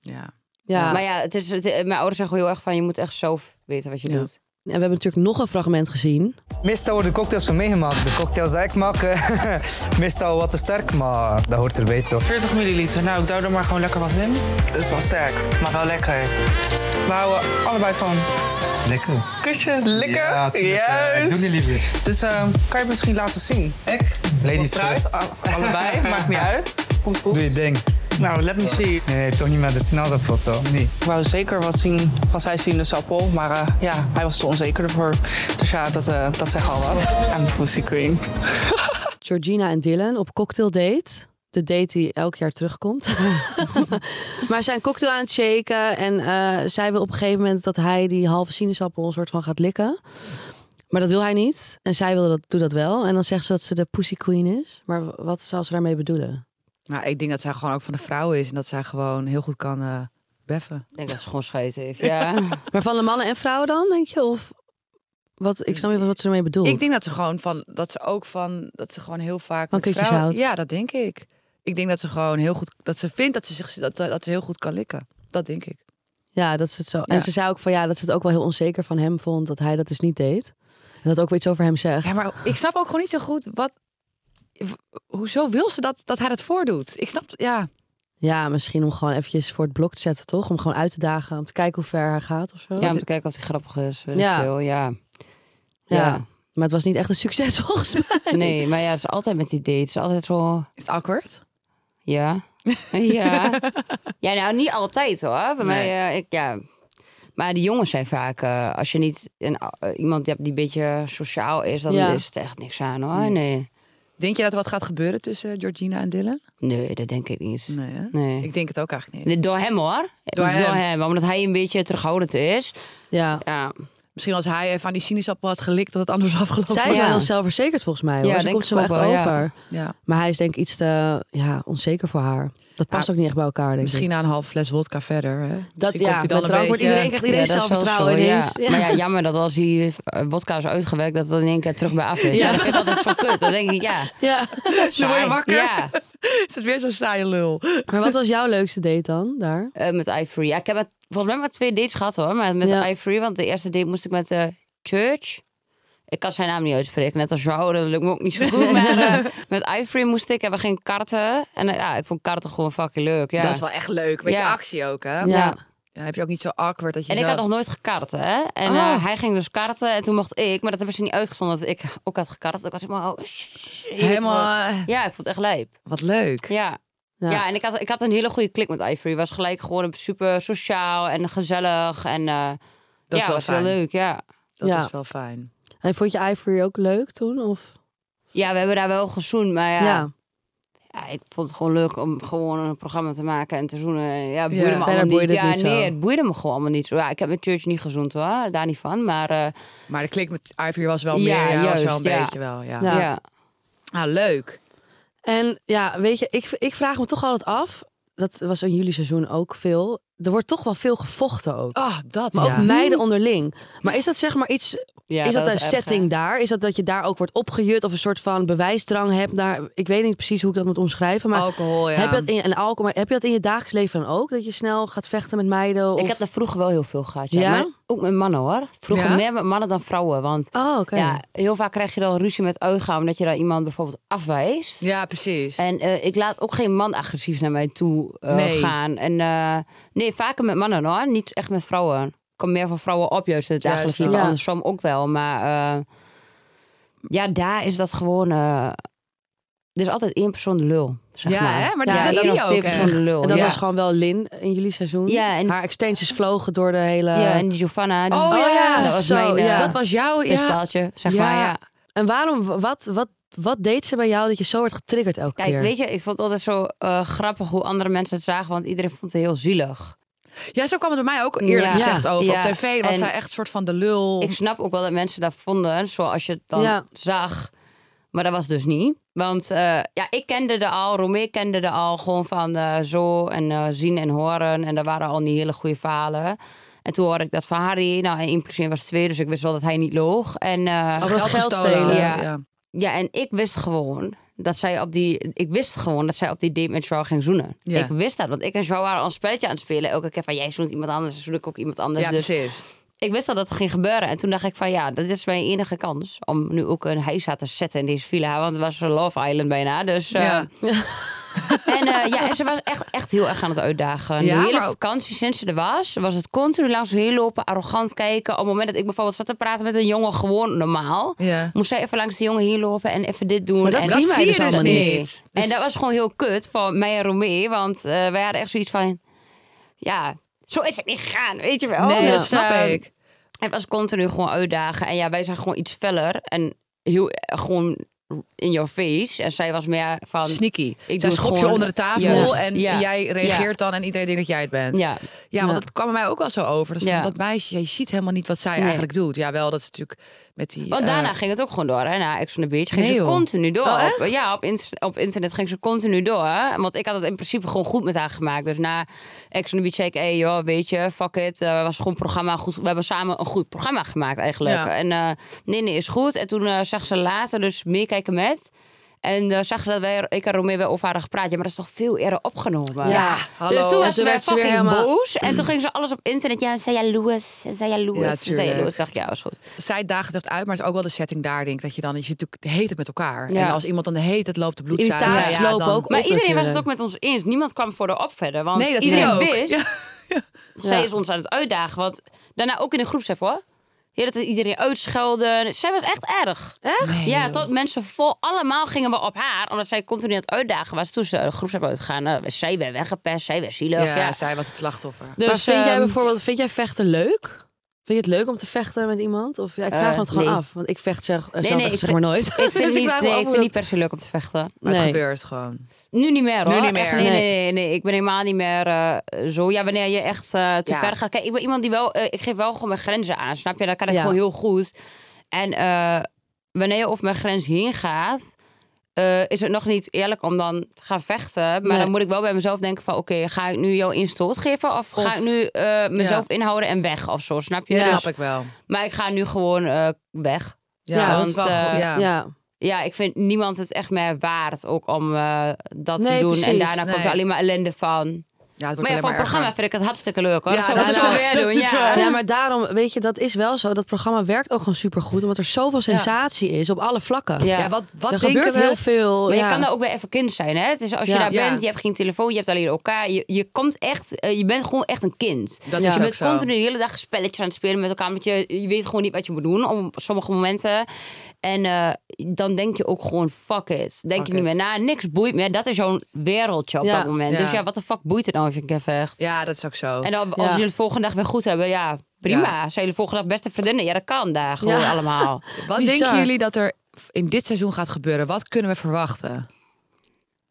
[SPEAKER 3] Ja.
[SPEAKER 2] Ja,
[SPEAKER 5] Maar ja, het is, het- mijn ouders zeggen heel erg van je moet echt zelf weten wat je
[SPEAKER 3] Ja.
[SPEAKER 5] doet.
[SPEAKER 2] en we hebben natuurlijk nog een fragment gezien.
[SPEAKER 10] Meestal worden cocktails van mij gemaakt. De cocktails die ik maak, eh, meestal wat te sterk, maar dat hoort erbij toch.
[SPEAKER 11] 40 milliliter. Nou, ik douw er maar gewoon lekker wat in.
[SPEAKER 10] Dat is wel sterk, maar wel lekker.
[SPEAKER 11] We houden allebei van.
[SPEAKER 10] Lekker.
[SPEAKER 11] Kusje, lekker.
[SPEAKER 10] Ja, tuurlijk, eh, ik doe niet liever.
[SPEAKER 11] Dus ehm, kan je het misschien laten zien?
[SPEAKER 10] Ik? Ladies
[SPEAKER 11] Fruit,
[SPEAKER 10] first.
[SPEAKER 11] a- allebei, maakt niet uit. Komt goed.
[SPEAKER 10] Doe je ding.
[SPEAKER 11] Nou, let me see.
[SPEAKER 10] Nee, nee, toch niet met de sinaasappel, toch? Nee.
[SPEAKER 11] Ik wou zeker wat zien van zijn sinaasappel. Maar eh, ja, hij was te onzeker ervoor. Dus ja, dat, eh dat zeg al wat. I'm the pussy queen.
[SPEAKER 2] Georgina en Dylan op cocktail date. De date die elk jaar terugkomt. maar ze zijn cocktail aan het shaken. En eh, zij wil op een gegeven moment dat hij die halve sinaasappel een soort van gaat likken. Maar dat wil hij niet. En zij wil dat, doet dat wel. En dan zegt ze dat ze de pussy queen is. Maar w- wat zou ze daarmee bedoelen?
[SPEAKER 3] Nou, ik denk dat zij gewoon ook van de vrouw is en dat zij gewoon heel goed kan eh, beffen.
[SPEAKER 5] Ik denk dat ze gewoon scheet heeft. Ja.
[SPEAKER 2] Maar van de mannen en vrouwen dan, denk je? Of wat, ik snap niet wat ze ermee bedoelt.
[SPEAKER 3] Ik denk dat ze gewoon van, dat ze ook van, dat ze gewoon heel
[SPEAKER 2] Van
[SPEAKER 3] vaak. met
[SPEAKER 2] kutjes
[SPEAKER 3] vrouwen-
[SPEAKER 2] houdt.
[SPEAKER 3] Ja, dat denk ik. Ik denk dat ze gewoon heel goed, dat ze vindt dat ze zich, dat, dat ze heel goed kan likken. Dat denk ik.
[SPEAKER 2] Ja, dat is het zo.
[SPEAKER 3] Ja.
[SPEAKER 2] En ze zei ook van ja, dat ze het ook wel heel onzeker van hem vond dat hij dat dus niet deed. En dat ook weer iets over hem zegt.
[SPEAKER 3] Ja, maar ik snap ook gewoon niet zo goed wat. w- Hoezo wil ze dat, dat hij dat voordoet? Ik snap, ja.
[SPEAKER 2] Ja, misschien om gewoon eventjes voor het blok te zetten, toch? Om gewoon uit te dagen, om te kijken hoe ver hij gaat of zo.
[SPEAKER 5] ja, om te kijken of hij grappig is. Weet
[SPEAKER 2] Ja.
[SPEAKER 5] ja. Ik veel. Ja.
[SPEAKER 2] Ja.
[SPEAKER 5] Ja.
[SPEAKER 2] Maar het was niet echt een succes volgens mij.
[SPEAKER 5] Nee, maar ja, dat is altijd met die dates. Altijd zo.
[SPEAKER 3] Is het awkward?
[SPEAKER 5] Ja. ja. ja, nou niet altijd hoor. Bij mij, eh, ik, ja. Maar de jongens zijn vaak, eh, als je niet een, eh, iemand hebt die een beetje sociaal is, dan
[SPEAKER 3] Ja.
[SPEAKER 5] is het echt niks aan hoor.
[SPEAKER 3] Niks.
[SPEAKER 5] Nee.
[SPEAKER 3] Denk je dat er wat gaat gebeuren tussen Georgina en Dylan?
[SPEAKER 5] nee, dat denk ik niet.
[SPEAKER 3] Nee, hè?
[SPEAKER 5] Nee.
[SPEAKER 3] Ik denk het ook eigenlijk niet.
[SPEAKER 5] Nee, Door hem hoor.
[SPEAKER 3] Door hem.
[SPEAKER 5] omdat hij een beetje terughoudend is.
[SPEAKER 2] Ja.
[SPEAKER 3] Misschien als hij even aan die sinaasappel had gelikt, dat het anders was afgelopen
[SPEAKER 2] Zij
[SPEAKER 3] was.
[SPEAKER 2] is wel heel zelfverzekerd volgens mij. Hoor.
[SPEAKER 5] Ja,
[SPEAKER 2] Ze
[SPEAKER 5] denk
[SPEAKER 2] komt
[SPEAKER 5] ik
[SPEAKER 2] zo echt
[SPEAKER 5] ook wel, ja.
[SPEAKER 2] over.
[SPEAKER 3] Ja.
[SPEAKER 2] Maar hij is denk ik iets te ja, onzeker voor haar. Dat past ook niet echt bij elkaar, denk
[SPEAKER 3] Misschien
[SPEAKER 2] ik.
[SPEAKER 3] na een half fles wodka verder. Hè?
[SPEAKER 2] Dat,
[SPEAKER 3] Misschien
[SPEAKER 2] ja,
[SPEAKER 3] komt hij dan
[SPEAKER 2] met drank
[SPEAKER 3] een beetje...
[SPEAKER 2] wordt iedereen krijgt iedereen
[SPEAKER 5] eh, Ja, dat is wel
[SPEAKER 2] zelfvertrouwen
[SPEAKER 5] zo,
[SPEAKER 2] ineens.
[SPEAKER 5] Ja. Maar ja, jammer dat als die eh, wodka is uitgewerkt, dat het in één keer terug bij af is.
[SPEAKER 2] Ja.
[SPEAKER 5] Ja. dat vind ik altijd zo kut. Dan denk ik, ja.
[SPEAKER 2] Ja.
[SPEAKER 5] Ze worden
[SPEAKER 3] wakker.
[SPEAKER 5] Ja.
[SPEAKER 3] Is het weer zo'n saaie lul?
[SPEAKER 2] Maar wat was jouw leukste date dan, daar?
[SPEAKER 5] Eh, met Ivory. Ja, ik heb het, volgens mij maar twee dates gehad hoor. Maar met
[SPEAKER 2] Ja.
[SPEAKER 5] Ivory, want de eerste date moest ik met eh, Church. Ik kan zijn naam niet uitspreken, net als jou. Dat lukt me ook niet zo goed. Maar eh, met Ivory moest ik en we gingen karten. En eh, ja, ik vond karten gewoon fucking leuk. Ja.
[SPEAKER 3] Dat is wel echt leuk. Beetje
[SPEAKER 5] Ja.
[SPEAKER 3] actie ook, hè?
[SPEAKER 5] Ja.
[SPEAKER 3] Dan heb je ook niet zo awkward dat je
[SPEAKER 5] En ik
[SPEAKER 3] zelf-
[SPEAKER 5] had nog nooit gekart, hè? En
[SPEAKER 3] Oh.
[SPEAKER 5] eh, hij ging dus karten en toen mocht ik, maar dat hebben ze niet uitgevonden dat ik ook had gekart. Ik was helemaal. oh, shit.
[SPEAKER 3] Helemaal, eh,
[SPEAKER 5] Ja, ik vond het echt lijp.
[SPEAKER 3] Wat leuk.
[SPEAKER 5] Ja. Ja, en ik had, ik had een hele goede klik met Ivory. Was gelijk gewoon super sociaal en gezellig. En eh,
[SPEAKER 3] Dat
[SPEAKER 5] ja,
[SPEAKER 3] is wel
[SPEAKER 5] was
[SPEAKER 3] fijn.
[SPEAKER 5] heel leuk, ja.
[SPEAKER 3] Dat
[SPEAKER 2] Ja.
[SPEAKER 3] is wel fijn.
[SPEAKER 2] En vond je Ivory ook leuk toen? Of?
[SPEAKER 5] Ja, we hebben daar wel gezoend, maar ja.
[SPEAKER 2] Ja.
[SPEAKER 5] ja. ik vond het gewoon leuk om gewoon een programma te maken en te zoenen. Ja, het boeide
[SPEAKER 2] Ja.
[SPEAKER 5] me
[SPEAKER 2] Verder
[SPEAKER 5] allemaal niet.
[SPEAKER 2] boeide het
[SPEAKER 5] ja,
[SPEAKER 2] niet zo.
[SPEAKER 5] nee, het boeide me gewoon allemaal niet zo. Ja, ik heb met Church niet gezoend hoor, daar niet van. Maar eh,
[SPEAKER 3] Maar de klik met Ivory was wel
[SPEAKER 5] Ja,
[SPEAKER 3] meer, ja, was wel
[SPEAKER 5] juist,
[SPEAKER 3] een
[SPEAKER 5] ja.
[SPEAKER 3] beetje wel, ja.
[SPEAKER 2] Ja.
[SPEAKER 3] Ah, leuk.
[SPEAKER 2] En ja, weet je, ik, ik vraag me toch altijd af. Dat was in jullie seizoen ook veel. Er wordt toch wel veel gevochten ook.
[SPEAKER 3] Ah, dat
[SPEAKER 2] maar
[SPEAKER 3] ja.
[SPEAKER 2] ook meiden onderling. Maar is dat zeg maar iets...
[SPEAKER 5] Ja,
[SPEAKER 2] is dat,
[SPEAKER 5] dat
[SPEAKER 2] een
[SPEAKER 5] is erg,
[SPEAKER 2] setting daar? Is dat dat je daar ook wordt opgejut of een soort van bewijsdrang hebt? Daar, ik weet niet precies hoe ik dat moet omschrijven.
[SPEAKER 5] Oh,
[SPEAKER 2] Maar
[SPEAKER 3] Alcohol, ja.
[SPEAKER 2] heb, je dat in je, en alcohol, maar heb je dat in je dagelijks leven dan ook? Dat je snel gaat vechten met meiden? Of...
[SPEAKER 5] ik heb daar vroeger wel heel veel gehad. Ja.
[SPEAKER 2] Ja?
[SPEAKER 5] Maar ook met mannen hoor. Vroeger
[SPEAKER 2] Ja?
[SPEAKER 5] meer met mannen dan vrouwen. Want
[SPEAKER 2] Oh, oké.
[SPEAKER 5] ja, heel vaak krijg je dan ruzie met uitgaan omdat je daar iemand bijvoorbeeld afwijst.
[SPEAKER 3] Ja, precies.
[SPEAKER 5] En eh, ik laat ook geen man agressief naar mij toe eh,
[SPEAKER 3] Nee.
[SPEAKER 5] gaan. En, eh, nee, vaker met mannen hoor. Niet echt met vrouwen. Ik kom meer van vrouwen op juist in het
[SPEAKER 3] Juist,
[SPEAKER 5] dagelijks
[SPEAKER 3] ja.
[SPEAKER 5] leven.
[SPEAKER 3] Ja.
[SPEAKER 5] Andersom ook wel. Maar eh, ja, daar is dat gewoon... eh, er is altijd één persoon de lul, zeg
[SPEAKER 3] Ja,
[SPEAKER 5] maar.
[SPEAKER 3] hè? Maar dat zie
[SPEAKER 5] één
[SPEAKER 3] je
[SPEAKER 5] of
[SPEAKER 3] ook
[SPEAKER 5] twee
[SPEAKER 3] echt.
[SPEAKER 5] personen de lul.
[SPEAKER 2] En dat
[SPEAKER 5] ja.
[SPEAKER 2] was gewoon wel Lin in jullie seizoen.
[SPEAKER 5] Ja, en-
[SPEAKER 2] Haar extensies vlogen door de hele...
[SPEAKER 5] Ja, en die Giovanna. die-
[SPEAKER 3] Oh, ja,
[SPEAKER 5] Dat was
[SPEAKER 2] zo,
[SPEAKER 5] mijn eh,
[SPEAKER 2] Eh, ja.
[SPEAKER 3] Dat was jouw... Ja.
[SPEAKER 5] pispaaltje, zeg
[SPEAKER 3] Ja.
[SPEAKER 5] maar. Ja.
[SPEAKER 2] En waarom, wat, wat, wat deed ze bij jou dat je zo werd getriggerd elke
[SPEAKER 5] Kijk,
[SPEAKER 2] keer?
[SPEAKER 5] weet je, ik vond het altijd zo eh, grappig hoe andere mensen het zagen. Want iedereen vond het heel zielig.
[SPEAKER 3] ja, zo kwam het bij mij ook eerlijk
[SPEAKER 5] Ja.
[SPEAKER 3] gezegd over.
[SPEAKER 5] Ja.
[SPEAKER 3] Op tv was
[SPEAKER 5] En-
[SPEAKER 3] zij echt een soort van de lul.
[SPEAKER 5] Ik snap ook wel dat mensen dat vonden, zoals je het dan
[SPEAKER 2] Ja.
[SPEAKER 5] zag. Maar dat was dus niet. Want eh, ja, ik kende er al, Romee kende er al gewoon van eh, zo en eh, zien en horen. En daar waren al niet hele goede verhalen. En toen hoorde ik dat van Harry. Nou, en 1 plus 1 was 2, dus ik wist wel dat hij niet loog. En,
[SPEAKER 3] Ze had
[SPEAKER 5] eh,
[SPEAKER 3] geld
[SPEAKER 2] geld stelen.
[SPEAKER 3] gestolen.
[SPEAKER 5] Ja. ja, en ik wist gewoon dat zij op die. Ik wist gewoon dat zij op die date met Joao ging zoenen.
[SPEAKER 3] Ja.
[SPEAKER 5] Ik wist dat, want ik en Joao waren al een spelletje aan het spelen. Elke keer van jij zoent iemand anders, dan zoen ik ook iemand anders.
[SPEAKER 3] Ja,
[SPEAKER 5] dus
[SPEAKER 3] precies.
[SPEAKER 5] ik wist al dat het ging gebeuren. En toen dacht ik van ja, dat is mijn enige kans om nu ook een huis aan te zetten in deze villa. Want het was een Love Island bijna. Dus, eh,
[SPEAKER 3] Ja.
[SPEAKER 5] en, eh, ja, en ze was echt, echt heel erg aan het uitdagen.
[SPEAKER 3] Ja,
[SPEAKER 5] de hele
[SPEAKER 3] maar ook-
[SPEAKER 5] vakantie sinds ze er was, was het continu langs heen lopen, arrogant kijken. Op het moment dat ik bijvoorbeeld zat te praten met een jongen, gewoon normaal.
[SPEAKER 3] Ja.
[SPEAKER 5] Moest zij even langs de jongen heen lopen en even dit doen.
[SPEAKER 2] Maar dat
[SPEAKER 5] en
[SPEAKER 2] zien wij
[SPEAKER 3] zie
[SPEAKER 2] dus
[SPEAKER 3] je dus
[SPEAKER 2] allemaal
[SPEAKER 3] niet.
[SPEAKER 2] niet.
[SPEAKER 5] Nee.
[SPEAKER 3] Dus-
[SPEAKER 5] En dat was gewoon heel kut van mij en Romee. Want eh, wij hadden echt zoiets van... Ja, zo is het niet gegaan, weet je wel.
[SPEAKER 3] Nee, dat snap
[SPEAKER 5] ehm,
[SPEAKER 3] ik.
[SPEAKER 5] Het was continu gewoon uitdagen. En ja, wij zijn gewoon iets feller. En heel, eh, gewoon in your face. En zij was meer van...
[SPEAKER 3] Sneaky.
[SPEAKER 5] Ik
[SPEAKER 3] Zij
[SPEAKER 5] doe
[SPEAKER 3] schop je
[SPEAKER 5] gewoon-
[SPEAKER 3] onder de tafel
[SPEAKER 5] Juist,
[SPEAKER 3] en
[SPEAKER 5] ja.
[SPEAKER 3] jij reageert dan en iedereen denkt dat jij het bent.
[SPEAKER 5] Ja.
[SPEAKER 3] Ja, want
[SPEAKER 2] Ja.
[SPEAKER 3] dat kwam bij mij ook wel zo over. Dat, is van,
[SPEAKER 5] Ja.
[SPEAKER 3] dat meisje, je ziet helemaal niet wat zij
[SPEAKER 5] Nee.
[SPEAKER 3] eigenlijk doet. Ja, wel dat ze natuurlijk met die...
[SPEAKER 5] Want
[SPEAKER 3] eh,
[SPEAKER 5] daarna dus ging het ook gewoon door. Hè? Na Ex on the Beach ging
[SPEAKER 3] Nee,
[SPEAKER 5] ze
[SPEAKER 3] joh.
[SPEAKER 5] continu door.
[SPEAKER 3] Oh,
[SPEAKER 5] op, ja, op, ins- op internet ging ze continu door. hè. Want ik had het in principe gewoon goed met haar gemaakt. Dus na Ex on the Beach zei ik... Hey, joh, weet je, fuck it. Eh, was gewoon programma goed. We hebben samen een goed programma gemaakt eigenlijk.
[SPEAKER 3] Ja.
[SPEAKER 5] En eh, nee, nee, is goed. En toen eh, zag ze later dus meekijken met... En eh, zag ze dat wij, ik en Romeo wel over hadden gepraat. Ja, maar dat is toch veel eerder opgenomen?
[SPEAKER 2] Ja,
[SPEAKER 5] Dus
[SPEAKER 3] hallo.
[SPEAKER 5] toen
[SPEAKER 2] En
[SPEAKER 5] was
[SPEAKER 2] toen
[SPEAKER 5] ze weer
[SPEAKER 2] werd ze weer
[SPEAKER 5] fucking
[SPEAKER 2] helemaal-
[SPEAKER 5] boos. En toen ging ze alles op internet. Ja, zij jaloers. en Zij jaloers.
[SPEAKER 3] Ja,
[SPEAKER 5] en zij
[SPEAKER 3] tuurlijk.
[SPEAKER 5] jaloers. Dacht ik, ja, is goed.
[SPEAKER 3] zij daagt het echt uit, maar het is ook wel de setting daar, denk ik. Dat je dan, je zit natuurlijk heet het met elkaar.
[SPEAKER 5] Ja.
[SPEAKER 3] En als iemand dan de heet het loopt, de bloed
[SPEAKER 2] irritaties lopen ook op
[SPEAKER 5] Maar iedereen was het
[SPEAKER 2] natuurlijk.
[SPEAKER 5] ook met ons eens. Niemand kwam voor de op verder. Want
[SPEAKER 3] Nee, dat zie je
[SPEAKER 5] iedereen
[SPEAKER 3] ook.
[SPEAKER 5] wist, zij
[SPEAKER 2] Ja.
[SPEAKER 5] is ons aan het uitdagen. Want daarna ook in de groepsapp hoor. Ja, dat iedereen uitschelden. Zij was echt erg. Echt? ja, tot mensen vol. Allemaal gingen we op haar, omdat zij continu aan het uitdagen was. Toen ze de groepsapp gaan zij werd weggepest, zij werd zielig. Ja,
[SPEAKER 3] Ja, zij was het slachtoffer.
[SPEAKER 5] Dus,
[SPEAKER 2] maar vind jij
[SPEAKER 5] ehm,
[SPEAKER 2] bijvoorbeeld, vind jij vechten leuk? Vind je het leuk om te vechten met iemand? Of ja, ik vraag
[SPEAKER 5] Eh,
[SPEAKER 2] me het gewoon
[SPEAKER 5] nee.
[SPEAKER 2] af, want ik vecht zeg, eh,
[SPEAKER 5] Nee,
[SPEAKER 2] zelf
[SPEAKER 5] nee,
[SPEAKER 2] echt
[SPEAKER 5] ik
[SPEAKER 2] zeg
[SPEAKER 5] vind-
[SPEAKER 2] maar nooit.
[SPEAKER 5] ik vind
[SPEAKER 2] Dus
[SPEAKER 5] niet-
[SPEAKER 2] vraag me
[SPEAKER 5] nee,
[SPEAKER 2] af
[SPEAKER 5] ik
[SPEAKER 2] hoe
[SPEAKER 5] vind
[SPEAKER 2] dat-
[SPEAKER 5] niet per se leuk om te vechten.
[SPEAKER 3] Maar het
[SPEAKER 2] Nee.
[SPEAKER 3] gebeurt gewoon.
[SPEAKER 5] Nu niet meer hoor.
[SPEAKER 3] Nu niet meer.
[SPEAKER 5] Echt, nee,
[SPEAKER 3] Nee.
[SPEAKER 5] nee, nee, nee. Ik ben helemaal niet meer eh, zo. Ja, wanneer je echt eh, te
[SPEAKER 3] Ja.
[SPEAKER 5] ver gaat. Kijk, ik ben iemand die wel. eh, ik geef wel gewoon mijn grenzen aan. Snap je? Dat kan ik
[SPEAKER 2] Ja.
[SPEAKER 5] gewoon heel goed. En eh, wanneer je over mijn grens heen gaat. eh, is het nog niet eerlijk om dan te gaan vechten. Maar
[SPEAKER 2] Nee.
[SPEAKER 5] dan moet ik wel bij mezelf denken van... oké, ga ik nu jou in stoot geven? Of,
[SPEAKER 2] Of-
[SPEAKER 5] ga ik nu eh, mezelf inhouden en weg of zo? Snap je?
[SPEAKER 3] Ja.
[SPEAKER 5] Dus-
[SPEAKER 3] Snap ik wel.
[SPEAKER 5] maar ik ga nu gewoon eh, weg.
[SPEAKER 3] Ja, dat is
[SPEAKER 5] want,
[SPEAKER 3] wel goed,
[SPEAKER 5] eh,
[SPEAKER 3] ja.
[SPEAKER 2] Ja,
[SPEAKER 5] ja, ik vind niemand het echt meer waard ook om eh, dat te
[SPEAKER 2] Nee,
[SPEAKER 5] doen. En
[SPEAKER 2] precies.
[SPEAKER 5] daarna komt
[SPEAKER 3] Nee.
[SPEAKER 5] er alleen maar ellende van.
[SPEAKER 3] Ja, het wordt
[SPEAKER 5] Maar ja,
[SPEAKER 3] alleen
[SPEAKER 5] voor
[SPEAKER 3] maar
[SPEAKER 5] het programma
[SPEAKER 3] erger.
[SPEAKER 5] vind ik het hartstikke leuk hoor.
[SPEAKER 3] Ja, nou,
[SPEAKER 5] dat zou ik
[SPEAKER 3] dat
[SPEAKER 5] het
[SPEAKER 3] is
[SPEAKER 5] zo
[SPEAKER 3] waar.
[SPEAKER 5] weer doen.
[SPEAKER 3] Dat is
[SPEAKER 5] Ja.
[SPEAKER 3] waar.
[SPEAKER 2] Ja, maar daarom, weet je, dat is wel zo. Dat programma werkt ook gewoon supergoed. Omdat er zoveel sensatie is op alle vlakken.
[SPEAKER 5] Ja.
[SPEAKER 3] Ja, wat, wat
[SPEAKER 2] er
[SPEAKER 3] denken
[SPEAKER 2] gebeurt
[SPEAKER 3] we?
[SPEAKER 2] heel veel.
[SPEAKER 5] Maar je
[SPEAKER 2] ja.
[SPEAKER 5] kan daar ook weer even kind zijn. Hè? Het is als je
[SPEAKER 2] Ja.
[SPEAKER 5] daar
[SPEAKER 3] Ja.
[SPEAKER 5] bent, je hebt geen telefoon, je hebt alleen elkaar. Je, je, komt echt, eh, je bent gewoon echt een kind.
[SPEAKER 3] Dat
[SPEAKER 2] Ja.
[SPEAKER 3] is
[SPEAKER 5] Je
[SPEAKER 3] ook
[SPEAKER 5] bent
[SPEAKER 3] zo.
[SPEAKER 5] continu de hele dag spelletjes aan het spelen met elkaar. Want je, je weet gewoon niet wat je moet doen op sommige momenten. En eh, dan denk je ook gewoon, fuck it. Denk je
[SPEAKER 3] it.
[SPEAKER 5] niet meer na. Niks boeit meer. Dat is jouw wereldje op
[SPEAKER 2] Ja.
[SPEAKER 5] dat moment.
[SPEAKER 3] Ja.
[SPEAKER 5] Dus ja, wat de fuck boeit het nou of je een keer vecht?
[SPEAKER 3] Ja, dat is ook zo.
[SPEAKER 5] En dan,
[SPEAKER 2] Ja.
[SPEAKER 5] als jullie het volgende dag weer goed hebben, ja, prima. Zijn jullie volgende dag beste vriendinnen? Ja, dat kan daar gewoon
[SPEAKER 2] Ja.
[SPEAKER 5] allemaal.
[SPEAKER 3] Wat
[SPEAKER 2] Bizar.
[SPEAKER 3] denken jullie dat er in dit seizoen gaat gebeuren? Wat kunnen we verwachten?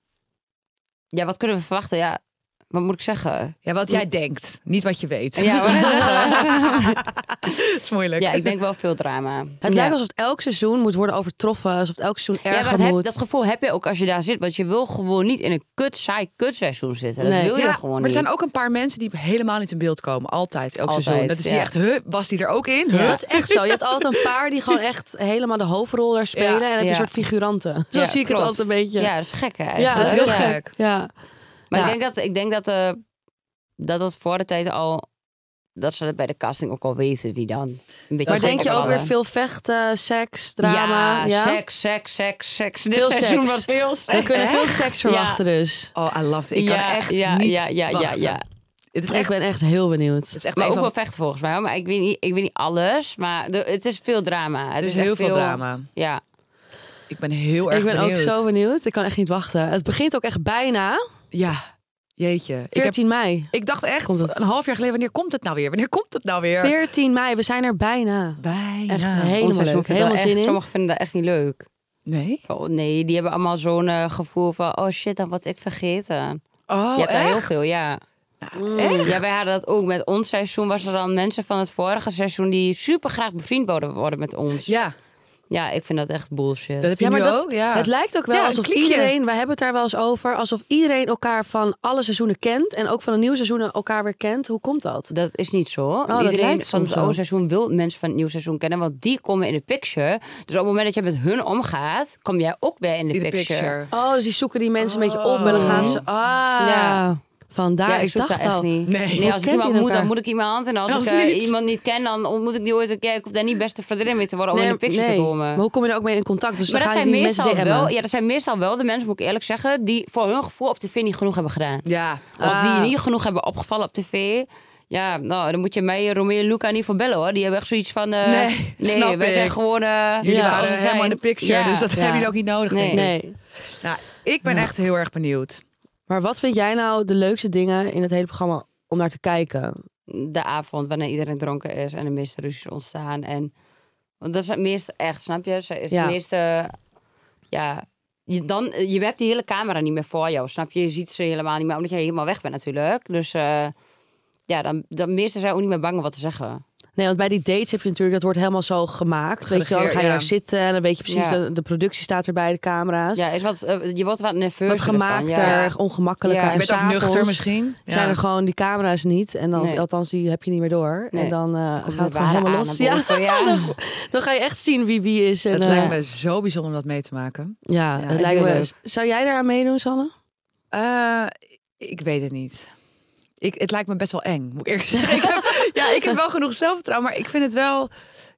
[SPEAKER 5] Ja, wat kunnen we verwachten? Ja, wat moet ik zeggen?
[SPEAKER 3] Ja, wat jij denkt, niet wat je weet.
[SPEAKER 5] Ja, wat moet ik zeggen?
[SPEAKER 3] dat is moeilijk.
[SPEAKER 5] ja ik denk wel veel drama.
[SPEAKER 2] Het
[SPEAKER 5] ja.
[SPEAKER 2] lijkt alsof het elk seizoen moet worden overtroffen. Alsof het elk seizoen
[SPEAKER 5] Ja, maar
[SPEAKER 2] erger
[SPEAKER 5] dat, heb-
[SPEAKER 2] moet.
[SPEAKER 5] dat gevoel heb je ook als je daar zit. Want je wil gewoon niet in een kut, saai kutseizoen zitten. Dat
[SPEAKER 2] Nee.
[SPEAKER 5] wil je
[SPEAKER 3] Ja,
[SPEAKER 5] gewoon
[SPEAKER 3] maar er
[SPEAKER 5] niet.
[SPEAKER 3] zijn ook een paar mensen die helemaal niet in beeld komen. Altijd, elk
[SPEAKER 5] Altijd,
[SPEAKER 3] seizoen. Dat is
[SPEAKER 5] ja.
[SPEAKER 3] echt, huh, was die er ook in? Huh?
[SPEAKER 2] Ja, dat is echt zo. Je hebt altijd een paar die gewoon echt helemaal de hoofdrol daar spelen. En dan heb je
[SPEAKER 5] Ja.
[SPEAKER 2] een soort figuranten. Zo
[SPEAKER 5] Ja,
[SPEAKER 2] zie ik
[SPEAKER 5] klopt.
[SPEAKER 2] het altijd een beetje.
[SPEAKER 5] Ja, dat is gek hè.
[SPEAKER 2] Ja,
[SPEAKER 5] eigenlijk.
[SPEAKER 3] dat is heel
[SPEAKER 5] Ja.
[SPEAKER 3] gek.
[SPEAKER 2] Ja.
[SPEAKER 5] Maar
[SPEAKER 2] Ja.
[SPEAKER 5] ik denk dat ik denk dat, eh, dat dat voor de tijd al... Dat ze dat bij de casting ook al weten wie dan. Een beetje
[SPEAKER 2] Maar denk je ook weer
[SPEAKER 5] opvallen.
[SPEAKER 2] veel vechten, seks, drama?
[SPEAKER 5] Ja, seks, seks, seks, seks. Dit
[SPEAKER 2] Veel
[SPEAKER 5] seizoen
[SPEAKER 2] seks.
[SPEAKER 5] was veel
[SPEAKER 2] We
[SPEAKER 5] seks.
[SPEAKER 2] kunnen veel seks verwachten dus.
[SPEAKER 3] Oh, I loved it. Ik kan echt niet
[SPEAKER 5] ja, ja, ja,
[SPEAKER 3] wachten.
[SPEAKER 5] ja.
[SPEAKER 3] Het is
[SPEAKER 2] Ik
[SPEAKER 3] echt, het
[SPEAKER 2] ben echt heel benieuwd.
[SPEAKER 3] is echt
[SPEAKER 5] Maar
[SPEAKER 3] een
[SPEAKER 5] ook
[SPEAKER 3] van-
[SPEAKER 5] wel vechten volgens mij. hoor. Maar ik weet niet, ik weet niet alles. Maar de- het is veel drama. Het
[SPEAKER 3] er is
[SPEAKER 5] echt
[SPEAKER 3] heel veel drama.
[SPEAKER 5] Ja.
[SPEAKER 3] Ik ben heel erg
[SPEAKER 2] ik ben
[SPEAKER 3] benieuwd.
[SPEAKER 2] ook zo benieuwd. Ik kan echt niet wachten. Het begint ook echt bijna.
[SPEAKER 3] Ja, jeetje. Ik, heb,
[SPEAKER 2] 14 mei.
[SPEAKER 3] ik dacht echt,
[SPEAKER 2] Komt het-
[SPEAKER 3] een half jaar geleden, wanneer komt het nou weer? Wanneer komt het nou weer?
[SPEAKER 2] 14 mei, we zijn er bijna.
[SPEAKER 3] Bijna.
[SPEAKER 2] Echt helemaal
[SPEAKER 5] Ons seizoen
[SPEAKER 2] leuk.
[SPEAKER 5] vindt wel
[SPEAKER 2] Helemaal
[SPEAKER 5] echt-
[SPEAKER 2] zin in.
[SPEAKER 5] Sommigen vinden dat echt niet leuk.
[SPEAKER 3] Nee?
[SPEAKER 5] Van, oh, nee, die hebben allemaal zo'n eh, gevoel van... Oh shit, dan wat ik vergeten.
[SPEAKER 3] Oh,
[SPEAKER 5] je hebt daar heel
[SPEAKER 3] echt?
[SPEAKER 5] veel, ja. Mm. Ja, wij hadden dat ook. Met ons seizoen was er dan mensen van het vorige seizoen... die super graag bevriend worden, worden met ons.
[SPEAKER 3] Ja,
[SPEAKER 5] Ja, ik vind dat echt bullshit.
[SPEAKER 3] dat heb je
[SPEAKER 2] Ja, maar
[SPEAKER 3] nu
[SPEAKER 2] dat,
[SPEAKER 3] ook. Ja.
[SPEAKER 2] het lijkt ook wel
[SPEAKER 3] Ja, een
[SPEAKER 2] alsof
[SPEAKER 3] kliekje.
[SPEAKER 2] iedereen, wij hebben het daar wel eens over, alsof iedereen elkaar van alle seizoenen kent en ook van de nieuwe seizoenen elkaar weer kent. Hoe komt dat?
[SPEAKER 5] Dat is niet zo.
[SPEAKER 2] Oh, dat
[SPEAKER 5] Iedereen
[SPEAKER 2] lijkt
[SPEAKER 5] van
[SPEAKER 2] soms
[SPEAKER 5] het
[SPEAKER 2] zo.
[SPEAKER 5] oude seizoen wil mensen van het nieuwe seizoen kennen, want die komen in de picture. Dus op het moment dat je met hun omgaat, kom jij ook weer in de
[SPEAKER 3] In de
[SPEAKER 5] picture.
[SPEAKER 3] picture.
[SPEAKER 2] Oh, dus die zoeken die mensen een beetje op en dan gaan ze. Ah,
[SPEAKER 5] Oh. Ja.
[SPEAKER 2] vandaar.
[SPEAKER 5] Ja,
[SPEAKER 2] Ah, ik,
[SPEAKER 5] ik zoek
[SPEAKER 2] dacht
[SPEAKER 5] daar
[SPEAKER 2] al.
[SPEAKER 5] echt niet.
[SPEAKER 3] Nee. Hoe
[SPEAKER 5] als ik
[SPEAKER 2] kent
[SPEAKER 5] iemand
[SPEAKER 2] die
[SPEAKER 5] moet, dan
[SPEAKER 2] elkaar?
[SPEAKER 5] moet ik iemand. En als,
[SPEAKER 2] Oh,
[SPEAKER 3] Als
[SPEAKER 5] ik eh,
[SPEAKER 3] niet.
[SPEAKER 5] iemand niet ken, dan ontmoet ik die ooit een keer. Ik hoef daar niet beste vriendin mee te worden om
[SPEAKER 2] Nee,
[SPEAKER 5] in de picture
[SPEAKER 2] nee.
[SPEAKER 5] te komen.
[SPEAKER 2] Maar hoe kom je daar ook mee in contact? Dus
[SPEAKER 5] Maar
[SPEAKER 2] dan
[SPEAKER 5] dat
[SPEAKER 2] gaan
[SPEAKER 5] zijn,
[SPEAKER 2] die mensen
[SPEAKER 5] meestal
[SPEAKER 2] DM'en.
[SPEAKER 5] wel, ja, dat zijn meestal wel de mensen, moet ik eerlijk zeggen, die voor hun gevoel op tv niet genoeg hebben gedaan.
[SPEAKER 3] Ja.
[SPEAKER 5] Of
[SPEAKER 2] Ah.
[SPEAKER 5] die niet genoeg hebben opgevallen op tv. Ja, nou, dan moet je mij, Romeo en Luca niet voor bellen hoor. Die hebben echt zoiets van... eh,
[SPEAKER 3] Nee, snap
[SPEAKER 5] wij
[SPEAKER 3] ik.
[SPEAKER 5] zijn gewoon... eh,
[SPEAKER 3] Jullie
[SPEAKER 5] zoals
[SPEAKER 3] waren
[SPEAKER 5] we
[SPEAKER 3] helemaal in
[SPEAKER 5] zijn.
[SPEAKER 3] de picture,
[SPEAKER 5] Ja.
[SPEAKER 3] dus dat
[SPEAKER 2] Ja.
[SPEAKER 3] hebben jullie ook niet nodig.
[SPEAKER 5] Nee.
[SPEAKER 3] denk ik.
[SPEAKER 2] Nee.
[SPEAKER 3] Nou, ik ben echt heel erg benieuwd.
[SPEAKER 2] Maar wat vind jij nou de leukste dingen in het hele programma om naar te kijken?
[SPEAKER 5] De avond wanneer iedereen dronken is en de meeste ruzies ontstaan. En, want dat is het meeste echt, snap je? Ze is
[SPEAKER 2] Ja.
[SPEAKER 5] het meeste... Ja, je, dan, je hebt die hele camera niet meer voor jou, snap je? Je ziet ze helemaal niet meer, omdat jij helemaal weg bent natuurlijk. Dus eh, ja, dan, dan meeste zijn ook niet meer bang om wat te zeggen.
[SPEAKER 2] Nee, want bij die dates heb je natuurlijk, dat wordt helemaal zo gemaakt. Weet je wel, dan ga je
[SPEAKER 3] ja.
[SPEAKER 2] daar zitten en dan weet je precies,
[SPEAKER 5] Ja.
[SPEAKER 2] de, de productie staat er bij de camera's.
[SPEAKER 5] Ja, is wat, eh, je wordt wat nerveus.
[SPEAKER 2] Wat gemaakter,
[SPEAKER 5] Ja.
[SPEAKER 2] ongemakkelijker.
[SPEAKER 5] Ja.
[SPEAKER 2] En
[SPEAKER 5] Je
[SPEAKER 3] Ik ben ook
[SPEAKER 2] s'avonds
[SPEAKER 3] nuchter misschien.
[SPEAKER 2] zijn
[SPEAKER 3] Ja.
[SPEAKER 2] er gewoon die camera's niet. En dan,
[SPEAKER 5] Nee.
[SPEAKER 2] althans, die heb je niet meer door. En
[SPEAKER 5] Nee.
[SPEAKER 2] dan eh, gaat
[SPEAKER 5] Komt
[SPEAKER 2] het
[SPEAKER 5] de
[SPEAKER 2] gewoon
[SPEAKER 5] ware
[SPEAKER 2] helemaal
[SPEAKER 5] aan
[SPEAKER 2] los.
[SPEAKER 5] naar
[SPEAKER 2] Ja,
[SPEAKER 5] boven, ja.
[SPEAKER 2] dan, dan ga je echt zien wie wie is. En,
[SPEAKER 3] Het
[SPEAKER 2] eh,
[SPEAKER 3] lijkt me zo bijzonder om dat mee te maken.
[SPEAKER 2] Ja, het
[SPEAKER 3] is
[SPEAKER 2] lijkt
[SPEAKER 5] heel
[SPEAKER 2] me.
[SPEAKER 5] leuk.
[SPEAKER 2] Zou jij daaraan meedoen, Sanne?
[SPEAKER 3] Eh, ik weet het niet. Ik, het lijkt me best wel eng, moet ik eerlijk zeggen. Ik heb, ja, ik heb wel genoeg zelfvertrouwen, maar ik vind het wel...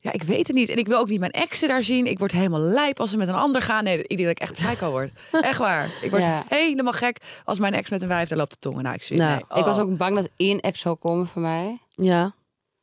[SPEAKER 3] Ja, ik weet het niet. En ik wil ook niet mijn exen daar zien. Ik word helemaal lijp als ze met een ander gaan. Nee, ik denk dat ik echt psycho word. Echt waar. Ik word
[SPEAKER 5] Ja.
[SPEAKER 3] helemaal gek als mijn ex met een wijf daar loopt te tongen. Nou, ik zie
[SPEAKER 2] Nou,
[SPEAKER 3] nee.
[SPEAKER 5] Ik was
[SPEAKER 3] Oh.
[SPEAKER 5] ook bang dat één ex zou komen van mij.
[SPEAKER 2] Ja.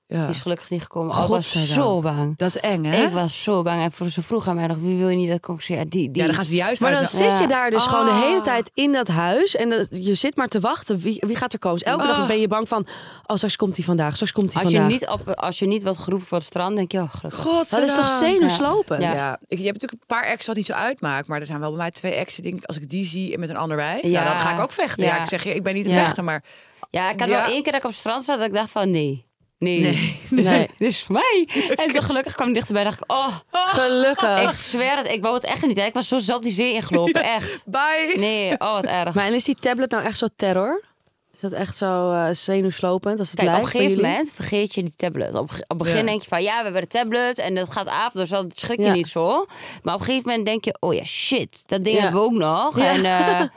[SPEAKER 5] Die is gelukkig niet gekomen. Oh, ik was
[SPEAKER 3] Godzijdank.
[SPEAKER 5] zo bang.
[SPEAKER 3] Dat is eng, hè?
[SPEAKER 5] Ik was zo bang. En voor- ze vroeg aan mij nog, wie wil je niet dat ik kom? Ik zei, ja, die, die.
[SPEAKER 3] Ja, dan gaan ze die juist
[SPEAKER 5] Maar dan
[SPEAKER 3] uitnodigen.
[SPEAKER 5] zit
[SPEAKER 2] je
[SPEAKER 5] je
[SPEAKER 2] daar
[SPEAKER 5] daar.
[SPEAKER 2] dus
[SPEAKER 5] Ah.
[SPEAKER 2] gewoon de hele tijd in dat huis. En eh, je zit maar te wachten. Wie, wie gaat er komen? Dus elke dag
[SPEAKER 5] Ah.
[SPEAKER 2] ben je bang van... Oh, straks komt hij vandaag. Straks komt hij
[SPEAKER 5] Als je,
[SPEAKER 2] vandaag.
[SPEAKER 5] niet op, als je niet wordt geroepen voor het strand, denk je, oh, gelukkig.
[SPEAKER 2] Dat is toch zenuwslopend?
[SPEAKER 5] Ja.
[SPEAKER 3] Ja. Ik, je hebt natuurlijk een paar exen wat niet zo uitmaakt. Maar er zijn wel bij mij twee exen. Denk, ik, als ik die zie en met een ander wijf, ja.
[SPEAKER 5] Ja.
[SPEAKER 3] dan ga ik ook vechten. Ja.
[SPEAKER 5] Ja.
[SPEAKER 3] ik zeg je, ik ben niet een
[SPEAKER 5] Ja.
[SPEAKER 3] vechter, maar
[SPEAKER 5] Ja, ik had
[SPEAKER 3] Ja.
[SPEAKER 5] wel één keer dat ik op het strand zat dat ik dacht van, nee. Nee.
[SPEAKER 3] Nee.
[SPEAKER 5] Nee. Dit is voor mij. En toen gelukkig kwam ik dichterbij dacht ik, oh.
[SPEAKER 2] Gelukkig.
[SPEAKER 5] Ik zweer het, ik wou het echt niet. Hè. Ik was zo zelf die zee ingelopen, echt.
[SPEAKER 3] Bye.
[SPEAKER 5] Nee, oh wat erg.
[SPEAKER 2] Maar en is die tablet nou echt zo terror? Is dat echt zo eh zenuwslopend als het
[SPEAKER 5] Kijk, op
[SPEAKER 2] lijkt
[SPEAKER 5] een
[SPEAKER 2] bij
[SPEAKER 5] gegeven
[SPEAKER 2] jullie?
[SPEAKER 5] moment vergeet je die tablet. Op, op het begin
[SPEAKER 2] Ja.
[SPEAKER 5] denk je van, ja, we hebben de tablet en dat gaat af, dus dat schrik je
[SPEAKER 2] Ja.
[SPEAKER 5] niet zo. Maar op een gegeven moment denk je, oh ja, shit, dat ding
[SPEAKER 2] Ja.
[SPEAKER 5] hebben we ook nog.
[SPEAKER 2] Ja.
[SPEAKER 5] En eh,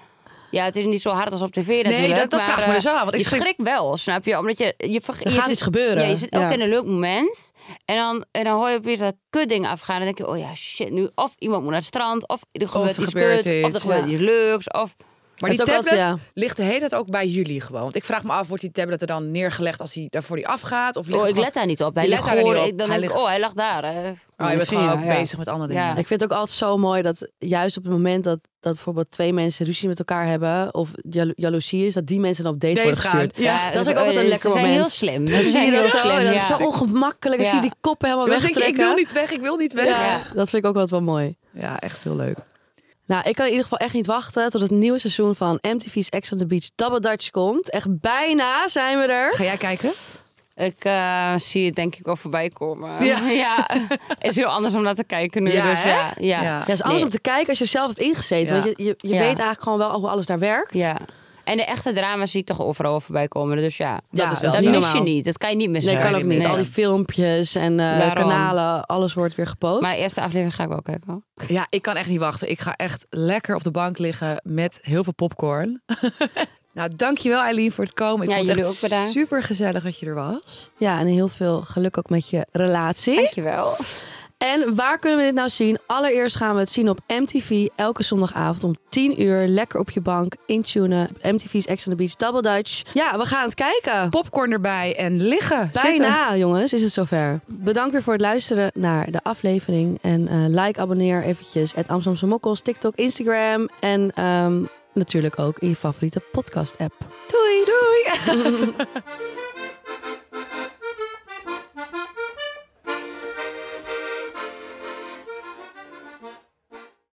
[SPEAKER 5] ja, het is niet zo hard als op tv natuurlijk.
[SPEAKER 3] dat- dat vraag ik me
[SPEAKER 5] eh,
[SPEAKER 3] dus af, want ik
[SPEAKER 5] je
[SPEAKER 3] schrik-
[SPEAKER 5] schrik wel, snap je? Omdat je, je verge-
[SPEAKER 2] Er
[SPEAKER 5] je
[SPEAKER 2] gaat
[SPEAKER 5] zit-
[SPEAKER 2] iets gebeuren.
[SPEAKER 5] Ja, je zit ook
[SPEAKER 2] Ja.
[SPEAKER 5] in een leuk moment en dan, en dan hoor je opeens dat kutding afgaan. Dan denk je, oh ja, shit, nu of iemand moet naar het strand, of er gebeurt
[SPEAKER 3] er
[SPEAKER 5] iets
[SPEAKER 3] gebeurt
[SPEAKER 5] kuts, of
[SPEAKER 3] iets.
[SPEAKER 5] er gebeurt
[SPEAKER 3] Ja.
[SPEAKER 5] iets leuks, of...
[SPEAKER 3] Maar
[SPEAKER 5] Dat
[SPEAKER 3] die
[SPEAKER 5] is ook
[SPEAKER 3] tablet
[SPEAKER 5] altijd,
[SPEAKER 3] ligt de hele tijd ook bij jullie gewoon. Want ik vraag me af, wordt die tablet er dan neergelegd als hij daarvoor die afgaat? Of ligt
[SPEAKER 5] Oh,
[SPEAKER 3] het
[SPEAKER 5] ik
[SPEAKER 3] gewoon-
[SPEAKER 5] let daar niet op. Hij
[SPEAKER 3] Je
[SPEAKER 5] ligt
[SPEAKER 3] let daar niet
[SPEAKER 5] gewoon,
[SPEAKER 3] op.
[SPEAKER 5] ik, dan denk ik,
[SPEAKER 3] ligt-
[SPEAKER 5] oh, hij lag daar. hè.
[SPEAKER 3] bent
[SPEAKER 5] Misschien,
[SPEAKER 3] gewoon ook
[SPEAKER 5] ja, ja.
[SPEAKER 3] bezig met andere dingen.
[SPEAKER 5] Ja.
[SPEAKER 2] Ik vind het ook altijd zo mooi dat juist op het moment dat, dat bijvoorbeeld twee mensen ruzie met elkaar hebben of jalo- jaloezie is, dat die mensen dan op date
[SPEAKER 5] Date
[SPEAKER 2] worden
[SPEAKER 5] gaan,
[SPEAKER 2] gestuurd.
[SPEAKER 5] ja.
[SPEAKER 2] dat is ook altijd een
[SPEAKER 5] Ze
[SPEAKER 2] lekker
[SPEAKER 5] zijn
[SPEAKER 2] moment.
[SPEAKER 5] heel slim.
[SPEAKER 2] Dan
[SPEAKER 5] Ze
[SPEAKER 2] zie
[SPEAKER 5] zijn
[SPEAKER 2] je dat
[SPEAKER 5] heel
[SPEAKER 2] zo
[SPEAKER 5] slim,
[SPEAKER 2] en dan is
[SPEAKER 5] ja.
[SPEAKER 2] het zo ongemakkelijk. Dan
[SPEAKER 5] Ja.
[SPEAKER 2] zie je die koppen helemaal
[SPEAKER 3] Ja, dan denk je,
[SPEAKER 2] wegtrekken.
[SPEAKER 3] ik wil niet weg, ik wil niet weg.
[SPEAKER 2] Ja.
[SPEAKER 3] Ja,
[SPEAKER 2] Dat vind ik ook altijd wel mooi.
[SPEAKER 3] echt heel leuk.
[SPEAKER 2] Nou, ik kan in ieder geval echt niet wachten tot het nieuwe seizoen van MTV's Ex on the Beach Double Dutch komt. Echt bijna zijn we er.
[SPEAKER 3] Ga jij kijken?
[SPEAKER 5] Ik eh, zie het denk ik wel voorbij komen.
[SPEAKER 2] Ja.
[SPEAKER 5] Ja. Is heel anders om naar te kijken nu.
[SPEAKER 2] Ja,
[SPEAKER 5] dus
[SPEAKER 2] hè?
[SPEAKER 5] ja, ja.
[SPEAKER 2] Ja, het is anders
[SPEAKER 5] Nee.
[SPEAKER 2] om te kijken als je zelf hebt ingezeten.
[SPEAKER 5] Ja.
[SPEAKER 2] Want je, je, je
[SPEAKER 5] Ja.
[SPEAKER 2] weet eigenlijk gewoon wel hoe alles daar werkt.
[SPEAKER 5] Ja. En de echte drama's zie ik toch overal wel voorbij komen. Dus ja,
[SPEAKER 2] Ja,
[SPEAKER 5] dat,
[SPEAKER 2] is wel
[SPEAKER 5] mis
[SPEAKER 2] normaal.
[SPEAKER 5] je niet. Dat kan je niet missen.
[SPEAKER 2] Nee, kan ook niet.
[SPEAKER 5] Nee.
[SPEAKER 2] Al die filmpjes en eh,
[SPEAKER 5] Daarom.
[SPEAKER 2] kanalen, alles wordt weer gepost.
[SPEAKER 5] Maar e- eerste aflevering ga ik wel kijken. hoor.
[SPEAKER 3] Ja, ik kan echt niet wachten. Ik ga echt lekker op de bank liggen met heel veel popcorn. nou, dankjewel Eileen voor het komen. Ik
[SPEAKER 5] Ja,
[SPEAKER 3] vond het
[SPEAKER 5] jullie
[SPEAKER 3] echt
[SPEAKER 5] ook bedankt.
[SPEAKER 3] super gezellig dat je er was.
[SPEAKER 2] Ja, en heel veel geluk ook met je relatie.
[SPEAKER 5] Dankjewel.
[SPEAKER 2] En waar kunnen we dit nou zien? Allereerst gaan we het zien op MTV elke zondagavond om 10 uur. Lekker op je bank, intunen. MTV's Ex on the Beach, Double Dutch. Ja, we gaan het kijken.
[SPEAKER 3] Popcorn erbij en liggen.
[SPEAKER 2] Bijna,
[SPEAKER 3] Zitten.
[SPEAKER 2] jongens, is het zover. Bedankt weer voor het luisteren naar de aflevering. En eh, like, abonneer eventjes. Het Amsterdamse Mokkels, TikTok, Instagram. En ehm, natuurlijk ook in je favoriete podcast-app.
[SPEAKER 3] Doei. Doei.